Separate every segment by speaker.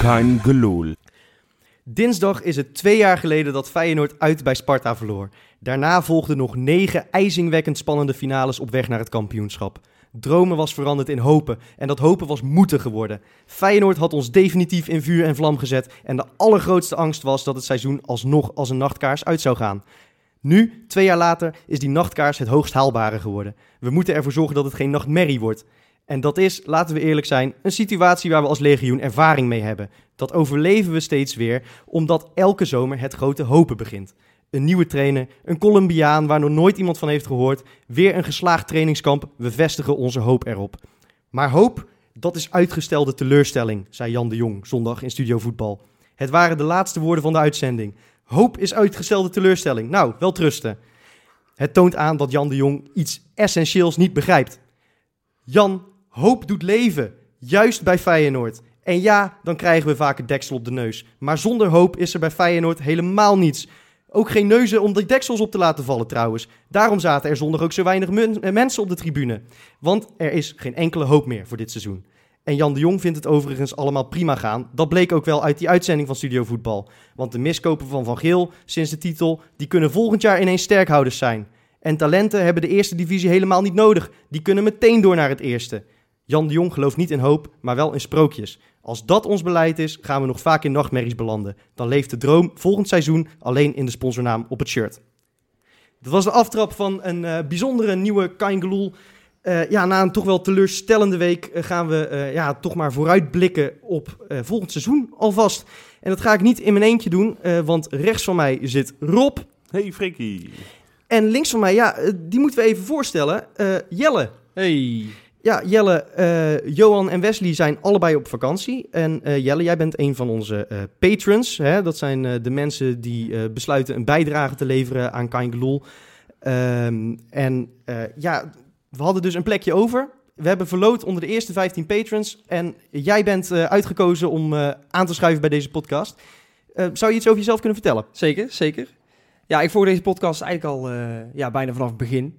Speaker 1: kein gelul.
Speaker 2: Dinsdag is het twee jaar geleden dat Feyenoord uit bij Sparta verloor. Daarna volgden nog negen ijzingwekkend spannende finales op weg naar het kampioenschap. Dromen was veranderd in hopen en dat hopen was moeten geworden. Feyenoord had ons definitief in vuur en vlam gezet en de allergrootste angst was dat het seizoen alsnog als een nachtkaars uit zou gaan. Nu, twee jaar later, is die nachtkaars het hoogst haalbare geworden. We moeten ervoor zorgen dat het geen nachtmerrie wordt. En dat is, laten we eerlijk zijn, een situatie waar we als legioen ervaring mee hebben. Dat overleven we steeds weer, omdat elke zomer het grote hopen begint. Een nieuwe trainer, een Colombiaan waar nog nooit iemand van heeft gehoord, weer een geslaagd trainingskamp, we vestigen onze hoop erop. Maar hoop, dat is uitgestelde teleurstelling, zei Jan de Jong zondag in Studio Voetbal. Het waren de laatste woorden van de uitzending. Hoop is uitgestelde teleurstelling. Nou, wel trusten. Het toont aan dat Jan de Jong iets essentieels niet begrijpt. Jan, hoop doet leven. Juist bij Feyenoord. En ja, dan krijgen we vaak een deksel op de neus. Maar zonder hoop is er bij Feyenoord helemaal niets. Ook geen neuzen om de deksels op te laten vallen trouwens. Daarom zaten er zondag ook zo weinig mun- eh, mensen op de tribune. Want er is geen enkele hoop meer voor dit seizoen. En Jan de Jong vindt het overigens allemaal prima gaan. Dat bleek ook wel uit die uitzending van Studio Voetbal. Want de miskopen van Van Geel sinds de titel, die kunnen volgend jaar ineens sterkhouders zijn. En talenten hebben de eerste divisie helemaal niet nodig. Die kunnen meteen door naar het eerste. Jan de Jong gelooft niet in hoop, maar wel in sprookjes. Als dat ons beleid is, gaan we nog vaak in nachtmerries belanden. Dan leeft de droom volgend seizoen alleen in de sponsornaam op het shirt. Dat was de aftrap van een eh, bijzondere nieuwe Kaingeloel. Eh ja, na een toch wel teleurstellende week eh, gaan we eh, ja, toch maar vooruitblikken op eh, volgend seizoen alvast. En dat ga ik niet in mijn eentje doen, eh, want rechts van mij zit Rob.
Speaker 1: Hey Frikkie.
Speaker 2: En links van mij, ja, eh, die moeten we even voorstellen. Eh, Jelle.
Speaker 3: Hey.
Speaker 2: Ja, Jelle, eh, Johan en Wesley zijn allebei op vakantie. En eh, Jelle, jij bent een van onze eh, patrons. Hè? Dat zijn eh, de mensen die eh, besluiten een bijdrage te leveren aan Kind Lul. Ehm, en eh, ja, we hadden dus een plekje over. We hebben verloot onder de eerste 15 patrons. En jij bent eh, uitgekozen om eh, aan te schuiven bij deze podcast. Eh, zou je iets over jezelf kunnen vertellen?
Speaker 3: Zeker, zeker. Ja, ik volg deze podcast eigenlijk al eh, ja, bijna vanaf het begin.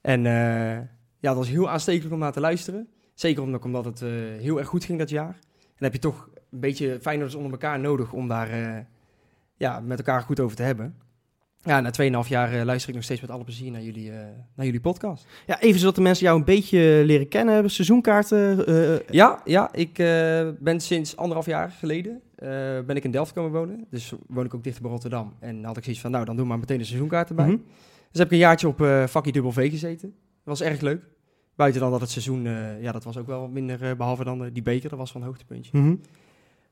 Speaker 3: En eh, ja, het was heel aanstekelijk om naar te luisteren. Zeker omdat, omdat het eh, heel erg goed ging dat jaar. En heb je toch een beetje Feyenoorders onder elkaar nodig om daar eh, ja, met elkaar goed over te hebben. Ja, na 2,5 jaar eh, luister ik nog steeds met alle plezier naar jullie, eh, naar jullie podcast.
Speaker 2: Ja, even zodat de mensen jou een beetje leren kennen. Seizoenkaarten. eh,
Speaker 3: Ja, ja ik eh, ben sinds anderhalf jaar geleden eh, ben ik in Delft komen wonen. Dus woon ik ook dichter bij Rotterdam. En dan had ik zoiets van, nou, dan doen we maar meteen een seizoenkaart erbij.
Speaker 2: mhm.
Speaker 3: Dus heb ik een jaartje op eh vakkie dubbel V gezeten. Dat was erg leuk. Buiten dan dat het seizoen, eh, ja, dat was ook wel wat minder, eh, behalve dan eh, die beker, dat was wel een hoogtepuntje.
Speaker 2: Mhm.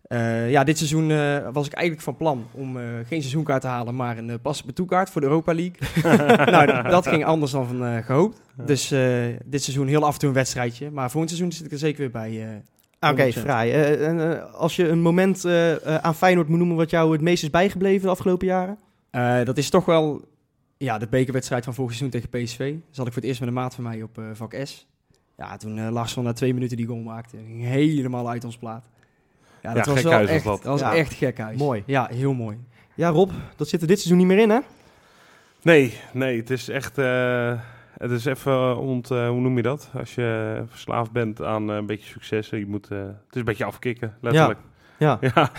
Speaker 3: Eh, ja, dit seizoen eh, was ik eigenlijk van plan om eh, geen seizoenkaart te halen, maar een uh, passende toekaart voor de Europa League. nou, d- dat ging anders dan van, eh, gehoopt. Dus eh, dit seizoen heel af en toe een wedstrijdje. Maar volgend seizoen zit ik er zeker weer bij. eh.
Speaker 2: Oké,
Speaker 3: 100%.
Speaker 2: fraai. Eh, en, eh, als je een moment eh, eh, aan Feyenoord moet noemen wat jou het meest is bijgebleven de afgelopen jaren?
Speaker 3: Eh, dat is toch wel ja, de bekerwedstrijd van vorig seizoen tegen PSV. Zat ik voor het eerst met een maat van mij op eh, vak S. Ja, toen eh Larsson na twee minuten die goal maakte. Ging helemaal uit ons plaat. Ja, dat
Speaker 1: Ja,
Speaker 3: was
Speaker 1: gek
Speaker 3: wel
Speaker 1: huis was
Speaker 3: echt,
Speaker 1: dat.
Speaker 3: dat was
Speaker 2: Ja.
Speaker 3: echt gek huis.
Speaker 2: Mooi.
Speaker 3: Ja, heel mooi.
Speaker 2: Ja, Rob, dat zit er dit seizoen niet meer in, hè?
Speaker 1: Nee, nee, het is echt. eh, het is even ont. eh, hoe noem je dat? Als je verslaafd bent aan eh, een beetje succes. Je moet, eh, het is een beetje afkicken, letterlijk.
Speaker 2: Ja.
Speaker 1: Ja,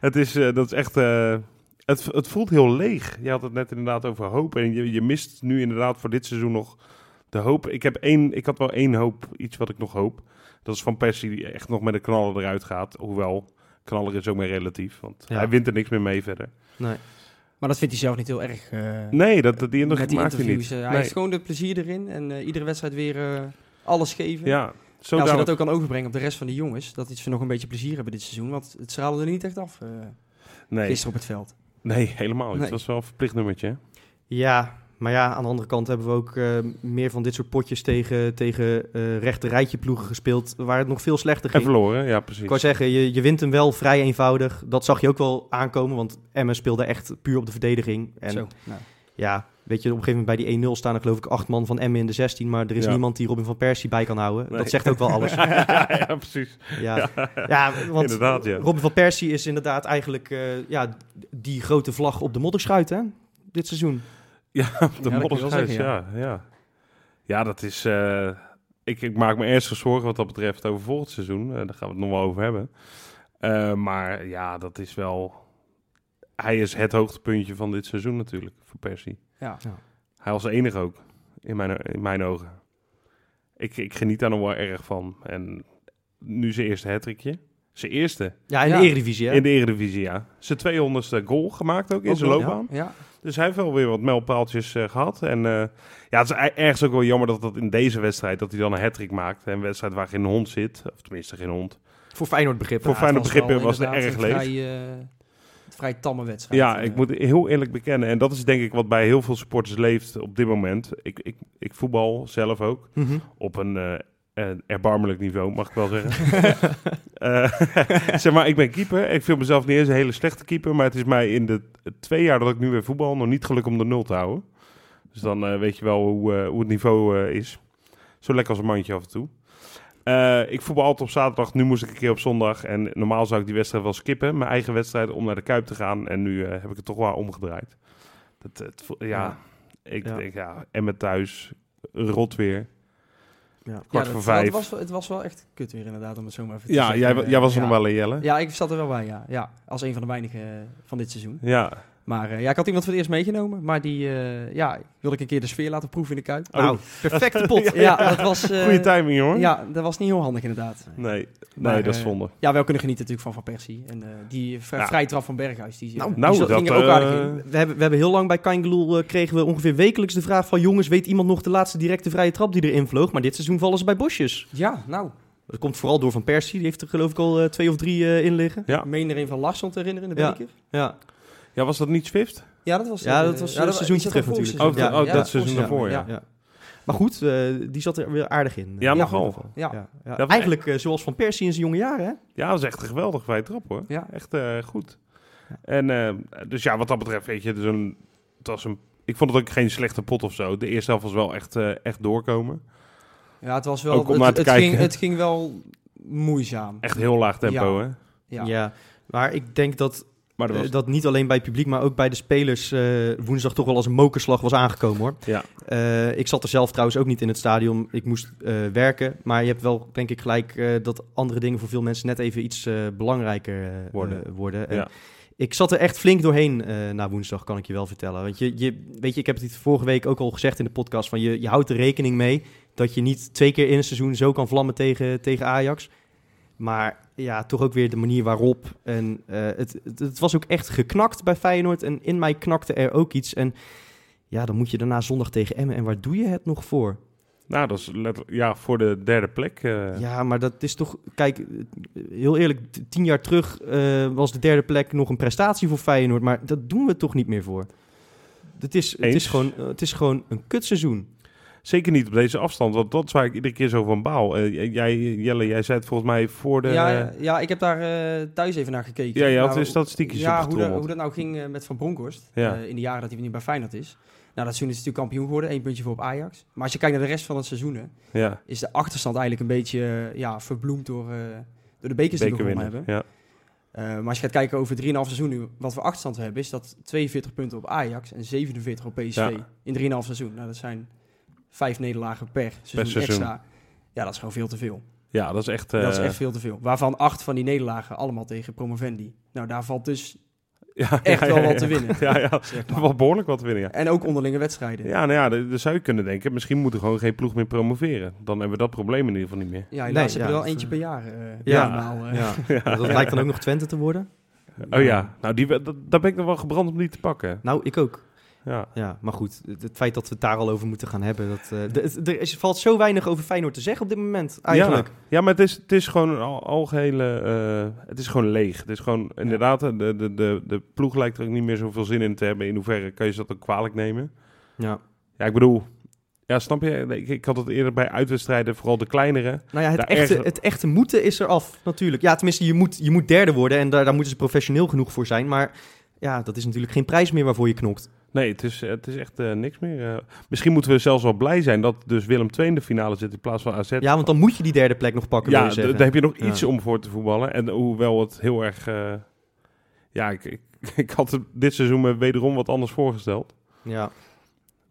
Speaker 1: het is, eh, dat is echt. eh, het, het voelt heel leeg. Je had het net inderdaad over hoop. En je, je mist nu inderdaad voor dit seizoen nog de hoop. Ik, heb één, ik had wel één hoop, iets wat ik nog hoop. Dat is van Persie, die echt nog met een knaller eruit gaat. Hoewel, knaller is ook meer relatief. Want
Speaker 2: Ja.
Speaker 1: hij wint er niks meer mee verder.
Speaker 3: Maar dat vindt hij zelf niet heel erg. eh,
Speaker 1: Nee, dat, dat die indruk
Speaker 3: met die
Speaker 1: maakt hij
Speaker 3: interviews.
Speaker 1: niet.
Speaker 3: Eh, hij
Speaker 1: Nee.
Speaker 3: heeft gewoon de plezier erin. En eh, iedere wedstrijd weer eh, alles geven. Ja,
Speaker 1: Ja, zo
Speaker 3: Nou, als je
Speaker 1: dadelijk-
Speaker 3: dat ook kan overbrengen op de rest van de jongens. Dat ze nog een beetje plezier hebben dit seizoen. Want het straalde er niet echt af eh
Speaker 1: Nee,
Speaker 3: gisteren op het veld.
Speaker 1: nee helemaal niet.
Speaker 3: Nee.
Speaker 1: Dat is wel een verplicht nummertje. hè?
Speaker 2: Ja, maar ja, aan de andere kant hebben we ook eh, meer van dit soort potjes tegen, tegen eh rechte rijtje ploegen gespeeld, waar het nog veel slechter
Speaker 1: En
Speaker 2: ging.
Speaker 1: verloren, ja precies.
Speaker 2: Ik wou zeggen, je, je wint hem wel vrij eenvoudig. Dat zag je ook wel aankomen, want Emmen speelde echt puur op de verdediging. En
Speaker 3: Zo, nou.
Speaker 2: ja, weet je, op een gegeven moment bij die 1-0 staan er geloof ik acht man van Emmen in de 16, maar er is
Speaker 1: Ja.
Speaker 2: niemand die Robin van Persie bij kan houden.
Speaker 1: Nee.
Speaker 2: Dat zegt ook wel alles.
Speaker 1: ja, ja, precies.
Speaker 2: Ja, ja want
Speaker 1: Inderdaad, ja.
Speaker 2: Robin van Persie is inderdaad eigenlijk eh, ja, die grote vlag op de modderschuit, hè? Dit seizoen.
Speaker 1: Ja, op de
Speaker 3: Ja, dat kun je wel
Speaker 1: modderschuis,
Speaker 3: zeggen,
Speaker 1: ja. ja. Ja, dat is... eh, ik, ik maak me ernstig zorgen wat dat betreft over volgend seizoen. Eh, daar gaan we het nog wel over hebben. Eh, maar ja, dat is wel... Hij is het hoogtepuntje van dit seizoen natuurlijk, voor Persie.
Speaker 3: Ja.
Speaker 1: Hij was de enige ook, in mijn, in mijn ogen. Ik, ik geniet daar nog wel erg van. En nu zijn eerste hattrickje. Zijn eerste
Speaker 2: Ja, in
Speaker 3: Ja.
Speaker 2: de Eredivisie, hè?
Speaker 1: in de Eredivisie, ja. Zijn 200ste goal gemaakt ook in
Speaker 2: Ook
Speaker 1: zijn
Speaker 2: nog,
Speaker 1: loopbaan.
Speaker 3: ja.
Speaker 1: Dus hij heeft wel weer wat mijlpaaltjes eh, gehad. En eh, ja, het is e- ergens ook wel jammer dat dat in deze wedstrijd... dat hij dan een hattrick maakt. Een wedstrijd waar geen hond zit. Of tenminste geen hond.
Speaker 2: Voor Feyenoord begrip.
Speaker 1: Voor
Speaker 3: Ja,
Speaker 1: fijne
Speaker 3: het was
Speaker 1: begrippen
Speaker 3: wel
Speaker 1: was het
Speaker 3: inderdaad
Speaker 1: erg
Speaker 3: een
Speaker 1: leeg.
Speaker 3: Vrij, eh, een vrij tamme wedstrijd.
Speaker 1: Ja,
Speaker 3: Eh,
Speaker 1: ik moet heel eerlijk bekennen. En dat is denk ik wat bij heel veel supporters leeft op dit moment. Ik, ik, ik voetbal zelf ook.
Speaker 2: Mhm.
Speaker 1: op een, eh, een erbarmelijk niveau, mag ik wel zeggen. Eh, zeg maar, ik ben keeper. Ik vind mezelf niet eens een hele slechte keeper. Maar het is mij in de twee jaar dat ik nu weer voetbal nog niet gelukt om de nul te houden. Dus dan eh, weet je wel hoe, eh, hoe het niveau eh, is. Zo lekker als een mandje af en toe. Eh, ik voetbal altijd op zaterdag. Nu moest ik een keer op zondag. En normaal zou ik die wedstrijd wel skippen. Mijn eigen wedstrijd om naar de Kuip te gaan. En nu eh, heb ik het toch wel omgedraaid. Dat, het vo- ja, ik
Speaker 2: Ja.
Speaker 1: denk ja. En met thuis. Rot weer.
Speaker 2: Ja.
Speaker 1: Kwart voor
Speaker 3: ja, dat-
Speaker 1: vijf.
Speaker 3: Het was, het was wel echt kut weer inderdaad, om het zo maar even te
Speaker 1: Ja,
Speaker 3: zeggen.
Speaker 1: jij, wa- jij was er
Speaker 3: eh, Ja.
Speaker 1: nog wel in, Jelle.
Speaker 3: Ja, ik zat er wel bij, ja. ja als een van de weinigen eh, van dit seizoen.
Speaker 1: Ja.
Speaker 3: Maar eh, ja, ik had iemand voor het eerst meegenomen. Maar die eh, ja, wilde ik een keer de sfeer laten proeven in de Kuip.
Speaker 1: Oh.
Speaker 2: Nou, perfecte pot.
Speaker 3: Ja, dat was... eh,
Speaker 1: Goede timing, hoor.
Speaker 3: Ja, dat was niet heel handig inderdaad.
Speaker 1: Nee, nee
Speaker 3: Maar,
Speaker 1: dat is
Speaker 3: eh,
Speaker 1: zonde.
Speaker 3: Ja, wel kunnen genieten natuurlijk van Van Persie. En eh, die vrij
Speaker 1: Ja.
Speaker 3: vrije trap van Berghuis, die,
Speaker 2: Nou,
Speaker 3: nou,
Speaker 1: nou,
Speaker 3: die zat- ging
Speaker 1: dat,
Speaker 3: er ook aardig
Speaker 1: eh,
Speaker 3: in.
Speaker 2: We hebben, we hebben heel lang bij Kangeloel eh, kregen we ongeveer wekelijks de vraag van... jongens, weet iemand nog de laatste directe vrije trap die erin vloog? Maar dit seizoen vallen ze bij Bosjes.
Speaker 3: Ja, nou,
Speaker 2: Dat komt vooral door Van Persie. Die heeft er geloof ik al eh, twee of drie eh, in liggen.
Speaker 1: Ja.
Speaker 3: ik meen er een van Larsson te herinneren in de
Speaker 2: Ja.
Speaker 3: beker.
Speaker 2: Ja.
Speaker 1: Ja, was dat niet Swift?
Speaker 3: Ja, dat was,
Speaker 2: Ja,
Speaker 3: eh,
Speaker 2: dat was, eh,
Speaker 3: dat
Speaker 2: seizoentje
Speaker 3: is
Speaker 2: terug
Speaker 3: dat vorig
Speaker 2: natuurlijk.
Speaker 3: seizoen.
Speaker 1: Oh, dat- oh, dat
Speaker 3: vorig
Speaker 1: seizoen daarvoor, ja.
Speaker 2: Maar goed, eh, die zat er weer aardig in.
Speaker 1: Ja,
Speaker 2: Eh,
Speaker 1: nogal.
Speaker 2: in ieder geval.
Speaker 3: Ja.
Speaker 2: Ja. Ja.
Speaker 1: Dat-
Speaker 2: Eigenlijk eh, zoals Van Persie in zijn jonge jaren, hè?
Speaker 1: Ja, dat was echt een geweldig vrije trap, hoor.
Speaker 3: Ja.
Speaker 1: Echt eh, goed.
Speaker 2: Ja.
Speaker 1: En, eh, dus ja, wat dat betreft, weet je, dus een, het was een, ik vond het ook geen slechte pot of zo. De eerste helft was wel echt, eh, echt doorkomen.
Speaker 3: Ja, het was wel.
Speaker 1: Ook om
Speaker 3: het,
Speaker 1: naar te
Speaker 3: het
Speaker 1: kijken.
Speaker 3: Ging, het ging wel moeizaam.
Speaker 1: Echt heel laag tempo,
Speaker 3: Ja.
Speaker 1: hè?
Speaker 3: Ja.
Speaker 2: Maar ik denk dat
Speaker 1: Maar dat
Speaker 2: eh,
Speaker 1: was...
Speaker 2: dat niet alleen bij het publiek, maar ook bij de spelers eh, woensdag toch wel als een mokerslag was aangekomen, hoor.
Speaker 1: Ja.
Speaker 2: Eh, ik zat er zelf trouwens ook niet in het stadion. Ik moest eh, werken. Maar je hebt wel, denk ik, gelijk eh, dat andere dingen voor veel mensen net even iets eh, belangrijker eh,
Speaker 1: Worden.
Speaker 2: eh, worden. En
Speaker 1: Ja.
Speaker 2: Ik zat er echt flink doorheen eh, na woensdag, kan ik je wel vertellen. Want je, je, weet je, ik heb het vorige week ook al gezegd in de podcast: van je, je houdt er rekening mee dat je niet twee keer in een seizoen zo kan vlammen tegen, tegen Ajax. Maar ja, toch ook weer de manier waarop. En eh, het, het, het was ook echt geknakt bij Feyenoord. En in mij knakte er ook iets. En ja, dan moet je daarna zondag tegen Emmen. En waar doe je het nog voor?
Speaker 1: Nou, dat is letterlijk... Ja, voor de derde plek. eh,
Speaker 2: Ja, maar dat is toch... Kijk, eh, heel eerlijk, t- tien jaar terug eh, was de derde plek nog een prestatie voor Feyenoord. Maar dat doen we toch niet meer voor. Het is, het
Speaker 1: Eens.
Speaker 2: is, gewoon, eh, het is gewoon een kutseizoen.
Speaker 1: Zeker niet op deze afstand, want dat is waar ik iedere keer zo van baal. Eh, j- jij, Jelle, jij zei het volgens mij voor de...
Speaker 3: ja, ja, ik heb daar eh, thuis even naar gekeken.
Speaker 1: Ja, je had
Speaker 3: Nou,
Speaker 1: de statistiekjes
Speaker 3: ja, hoe, de-
Speaker 1: opgetrommeld.
Speaker 3: hoe dat nou ging eh, met Van Bronckhorst
Speaker 1: Ja.
Speaker 3: eh, in de jaren dat hij nu bij Feyenoord is. Nou, dat seizoen is natuurlijk kampioen geworden, één puntje voor op Ajax. Maar als je kijkt naar de rest van het seizoen, hè,
Speaker 1: Ja,
Speaker 3: is de achterstand eigenlijk een beetje eh, ja, verbloemd door, eh, door de bekers die we gewonnen
Speaker 1: bekerwinnaar.
Speaker 3: hebben.
Speaker 1: Ja.
Speaker 3: Eh, maar als je gaat kijken over 3,5 seizoen nu, wat we achterstand hebben, is dat 42 punten op Ajax en 47 op PSV
Speaker 1: Ja.
Speaker 3: in 3,5 seizoen. Nou, dat zijn vijf nederlagen per seizoen,
Speaker 1: seizoen.
Speaker 3: extra. Ja, dat is gewoon veel te veel.
Speaker 1: ja, dat is echt... eh,
Speaker 3: dat is echt veel te veel. Waarvan acht van die nederlagen allemaal tegen promovendi. Nou, daar valt dus
Speaker 1: ja,
Speaker 3: echt
Speaker 1: ja, ja,
Speaker 3: wel wat
Speaker 1: ja.
Speaker 3: te winnen.
Speaker 1: Ja, ja.
Speaker 3: zeg maar.
Speaker 1: Wel behoorlijk wat te winnen, ja.
Speaker 3: En ook onderlinge wedstrijden. Ja,
Speaker 1: Ja, nou ja, d- dan zou je kunnen denken, misschien moet er gewoon geen ploeg meer promoveren. Dan hebben we dat probleem in ieder geval niet meer.
Speaker 2: Nee,
Speaker 3: helaas heb
Speaker 2: ja,
Speaker 3: je er wel
Speaker 2: dat,
Speaker 3: eentje
Speaker 2: eh,
Speaker 3: per jaar. eh,
Speaker 2: ja.
Speaker 3: normaal, eh.
Speaker 2: Ja. Dat lijkt dan ook nog Twente te worden.
Speaker 1: Oh ja, nou, die, we- dat, daar ben ik nog wel gebrand om die te pakken.
Speaker 2: Nou, ik ook.
Speaker 1: Ja,
Speaker 2: Ja, maar goed, het, het feit dat we het daar al over moeten gaan hebben. Dat, eh, de- het- er is, valt zo weinig over Feyenoord te zeggen op dit moment, eigenlijk.
Speaker 1: Ja, ja maar het is, het is gewoon een al, algehele... eh, het is gewoon leeg. Het is gewoon, inderdaad, de, de, de, de ploeg lijkt er ook niet meer zoveel zin in te hebben. In hoeverre kan je ze dat ook kwalijk nemen?
Speaker 2: Ja.
Speaker 1: Ja, ik bedoel... Ja, snap je? Ik, ik had het eerder bij uitwedstrijden, vooral de kleinere.
Speaker 2: Nou ja, het
Speaker 1: Daar
Speaker 2: echte,
Speaker 1: ergens-
Speaker 2: het echte moeten is eraf, natuurlijk. Ja, tenminste, je moet, je moet derde worden en daar, daar moeten ze professioneel genoeg voor zijn. Maar ja, dat is natuurlijk geen prijs meer waarvoor je knokt.
Speaker 1: Nee, het is, het is echt eh, niks meer. eh. misschien moeten we zelfs wel blij zijn dat dus Willem II in de finale zit in plaats van AZ.
Speaker 2: Ja, want dan moet je die derde plek nog pakken, wil
Speaker 1: Ja,
Speaker 2: je
Speaker 1: d-
Speaker 2: zeggen.
Speaker 1: daar heb je nog
Speaker 2: Ja.
Speaker 1: iets om voor te voetballen. En hoewel het heel erg... eh, ja, ik, ik, ik had het dit seizoen me wederom wat anders voorgesteld.
Speaker 2: Ja.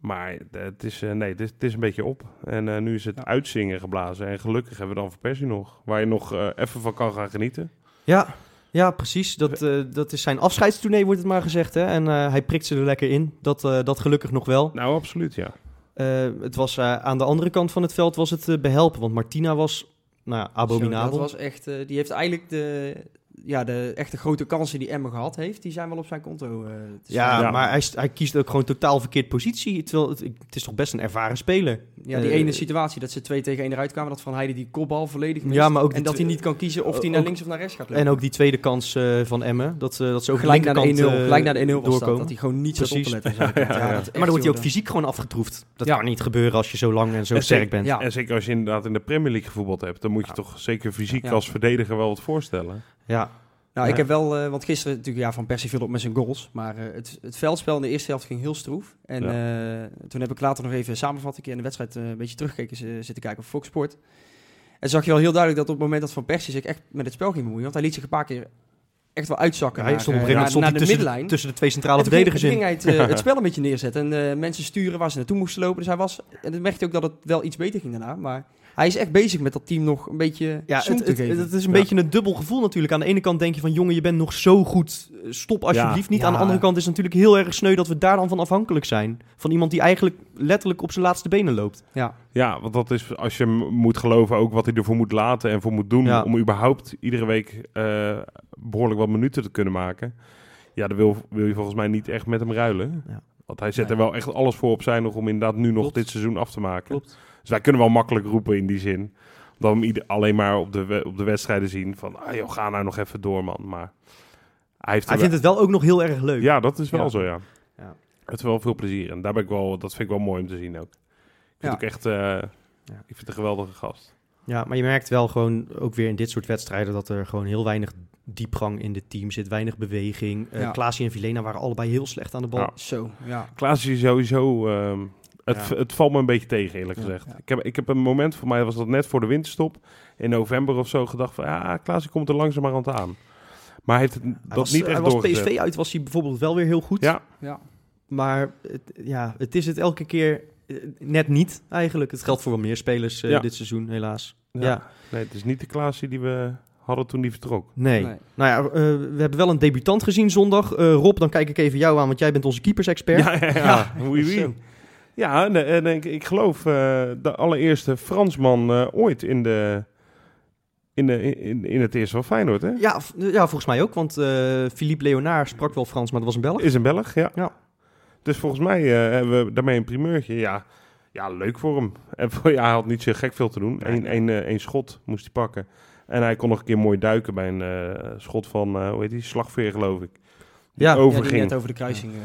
Speaker 1: Maar het is, eh, nee, het is, het is een beetje op. En eh, nu is het
Speaker 3: Ja.
Speaker 1: uitzingen geblazen. En gelukkig hebben we dan voor Persie nog. Waar je nog eh, even van kan gaan genieten.
Speaker 2: ja, Ja, precies. Dat, eh, dat is zijn afscheidstournee, wordt het maar gezegd. Hè? En eh, hij prikt ze er lekker in. Dat, eh, dat gelukkig nog wel.
Speaker 1: Nou, absoluut, ja.
Speaker 2: Eh, het was, eh, aan de andere kant van het veld was het eh, behelpen. Want Martina was nou, ja, abominabel.
Speaker 3: Zo, dat was echt, eh, die heeft eigenlijk de, ja, de echte grote kansen die Emmen gehad heeft, die zijn wel op zijn konto. eh, te
Speaker 2: ja,
Speaker 3: staan.
Speaker 1: Ja.
Speaker 2: maar hij, st- hij kiest ook gewoon totaal verkeerd positie. Terwijl het, het is toch best een ervaren speler.
Speaker 3: ja, die
Speaker 2: eh,
Speaker 3: ene situatie dat ze twee tegen één eruit kwamen, dat Van Heide die kopbal volledig mist.
Speaker 2: Ja, maar ook de
Speaker 3: en dat
Speaker 2: twe-
Speaker 3: hij niet kan kiezen of hij naar
Speaker 2: ook-
Speaker 3: links of naar rechts gaat lopen.
Speaker 2: En ook die tweede kans eh, van Emmen. Dat, eh, dat ze ook
Speaker 3: gelijk naar de 1-0,
Speaker 2: eh,
Speaker 3: gelijk naar de 1-0 was dat,
Speaker 2: doorkomen.
Speaker 3: dat hij gewoon niet zat op te
Speaker 2: Precies.
Speaker 3: letten. Ja, dat is
Speaker 2: maar dan
Speaker 3: echt
Speaker 2: wordt hij ook
Speaker 3: zo,
Speaker 2: fysiek gewoon afgetroefd. Dat
Speaker 3: Ja.
Speaker 2: kan niet gebeuren als je zo lang en zo
Speaker 1: En
Speaker 2: sterk
Speaker 1: zeker-
Speaker 2: bent.
Speaker 3: Ja.
Speaker 1: En zeker als je inderdaad in de Premier League gevoetbald hebt, dan moet je
Speaker 2: Ja.
Speaker 1: toch zeker fysiek
Speaker 3: Ja.
Speaker 1: als verdediger wel wat voorstellen.
Speaker 2: Ja.
Speaker 3: Nou, ik
Speaker 1: Ja.
Speaker 3: heb wel, eh, want gisteren natuurlijk ja, van Persie viel op met zijn goals. Maar eh, het, het veldspel in de eerste helft ging heel stroef. En eh, toen heb ik later nog even samenvatting in de wedstrijd eh, een beetje teruggekeken eh, zitten kijken op Fox Sport. En zag je wel heel duidelijk dat op het moment dat Van Persie zich echt met het spel ging bemoeien. Want hij liet zich een paar keer echt wel uitzakken.
Speaker 2: hij
Speaker 3: naar,
Speaker 2: stond op
Speaker 3: eh,
Speaker 2: een gegeven moment stond
Speaker 3: naar-
Speaker 2: hij
Speaker 3: naar de
Speaker 2: tussen,
Speaker 3: middenlijn.
Speaker 2: tussen de twee centrale
Speaker 3: En toen ging-
Speaker 2: verdedigers in.
Speaker 3: toen ging hij het, eh, het spel een beetje neerzetten. En eh, mensen sturen waar ze naartoe moesten lopen. Dus hij was, en dan merkte je ook dat het wel iets beter ging daarna. Maar hij is echt bezig met dat team nog een beetje
Speaker 2: Ja,
Speaker 3: zoen
Speaker 2: het,
Speaker 3: te
Speaker 2: het,
Speaker 3: geven.
Speaker 2: het is een
Speaker 1: Ja.
Speaker 2: beetje een dubbel gevoel natuurlijk. Aan de ene kant denk je van, jongen, je bent nog zo goed. Eh, Stop alsjeblieft niet.
Speaker 3: Ja.
Speaker 2: Aan de andere kant is het natuurlijk heel erg sneu dat we daar dan van afhankelijk zijn. Van iemand die eigenlijk letterlijk op zijn laatste benen loopt.
Speaker 3: ja.
Speaker 1: Ja, want dat is, als je hem moet geloven, ook wat hij ervoor moet laten en voor moet doen
Speaker 2: Ja.
Speaker 1: om überhaupt iedere week eh, behoorlijk wat minuten te kunnen maken. Ja, dan wil, wil je volgens mij niet echt met hem ruilen.
Speaker 2: Ja.
Speaker 1: Want hij zet
Speaker 3: Nee.
Speaker 1: er wel echt alles voor op zijn nog om inderdaad nu nog
Speaker 2: Klopt.
Speaker 1: dit seizoen af te maken.
Speaker 2: Klopt.
Speaker 1: Dus wij kunnen wel makkelijk roepen in die zin. Dan hem ieder, alleen maar op de, we- op de wedstrijden zien van, ah joh, ga nou nog even door man. Maar hij heeft er
Speaker 2: Hij
Speaker 1: wel-
Speaker 2: vindt het wel ook nog heel erg leuk.
Speaker 1: Ja, dat is wel
Speaker 2: Ja.
Speaker 1: zo, ja.
Speaker 2: Ja.
Speaker 1: Het is wel veel plezier. En daar ben ik wel, dat vind ik wel mooi om te zien ook. Ik vind
Speaker 3: Ja.
Speaker 1: ook echt, eh, ik vind het een geweldige gast.
Speaker 2: Ja, maar je merkt wel gewoon ook weer in dit soort wedstrijden dat er gewoon heel weinig diepgang in dit team zit, weinig beweging. Eh
Speaker 3: Ja.
Speaker 2: Klaasie en Vilena waren allebei heel slecht aan de bal.
Speaker 1: Ja.
Speaker 3: Zo, ja.
Speaker 1: Klaas is sowieso, ehm, het,
Speaker 2: Ja.
Speaker 1: het valt me een beetje tegen eerlijk
Speaker 3: Ja,
Speaker 1: gezegd.
Speaker 3: ja.
Speaker 1: Ik, heb, ik heb een moment, voor mij was dat net voor de winterstop, in november of zo, gedacht van, ja, Klaas komt er langzamerhand aan. Maar hij heeft het, dat
Speaker 2: Hij was, eh,
Speaker 1: niet echt
Speaker 2: hij was
Speaker 1: doorgezet.
Speaker 2: PSV uit, was hij bijvoorbeeld wel weer heel goed.
Speaker 1: Ja,
Speaker 3: ja.
Speaker 2: Maar het, ja, het is het elke keer eh, net niet eigenlijk. Het geldt voor wel meer spelers eh,
Speaker 1: Ja.
Speaker 2: dit seizoen helaas.
Speaker 1: Ja.
Speaker 2: Ja.
Speaker 1: nee, het is niet de Klaas die we hadden toen die vertrok.
Speaker 2: Nee.
Speaker 3: Nee.
Speaker 2: Nou ja, eh, we hebben wel een debutant gezien zondag. Eh, Rob, dan kijk ik even jou aan, want jij bent onze keepers-expert.
Speaker 1: Ja, ja, ja. Oui, oui.
Speaker 3: Zo.
Speaker 1: Ja, en, eh, en ik, ik geloof eh, de allereerste Fransman eh, ooit in, de, in, de, in, in het eerste van Feyenoord, hè?
Speaker 2: Ja, v- ja, volgens mij ook, want eh, Philippe Leonaar sprak wel Frans, maar dat was een Belg.
Speaker 1: Is een Belg, ja.
Speaker 2: Ja.
Speaker 1: Dus volgens mij eh, hebben we daarmee een primeurtje. Ja, ja leuk voor hem. En voor, ja, hij had niet zo gek veel te doen.
Speaker 2: Nee.
Speaker 1: Eén één, eh, één schot moest hij pakken. En hij kon nog een keer mooi duiken bij een eh, schot van, eh, hoe heet die, slagveer geloof ik. Die
Speaker 2: Ja, ja, die
Speaker 3: Ja, die
Speaker 1: overging.
Speaker 3: net over de kruising. eh,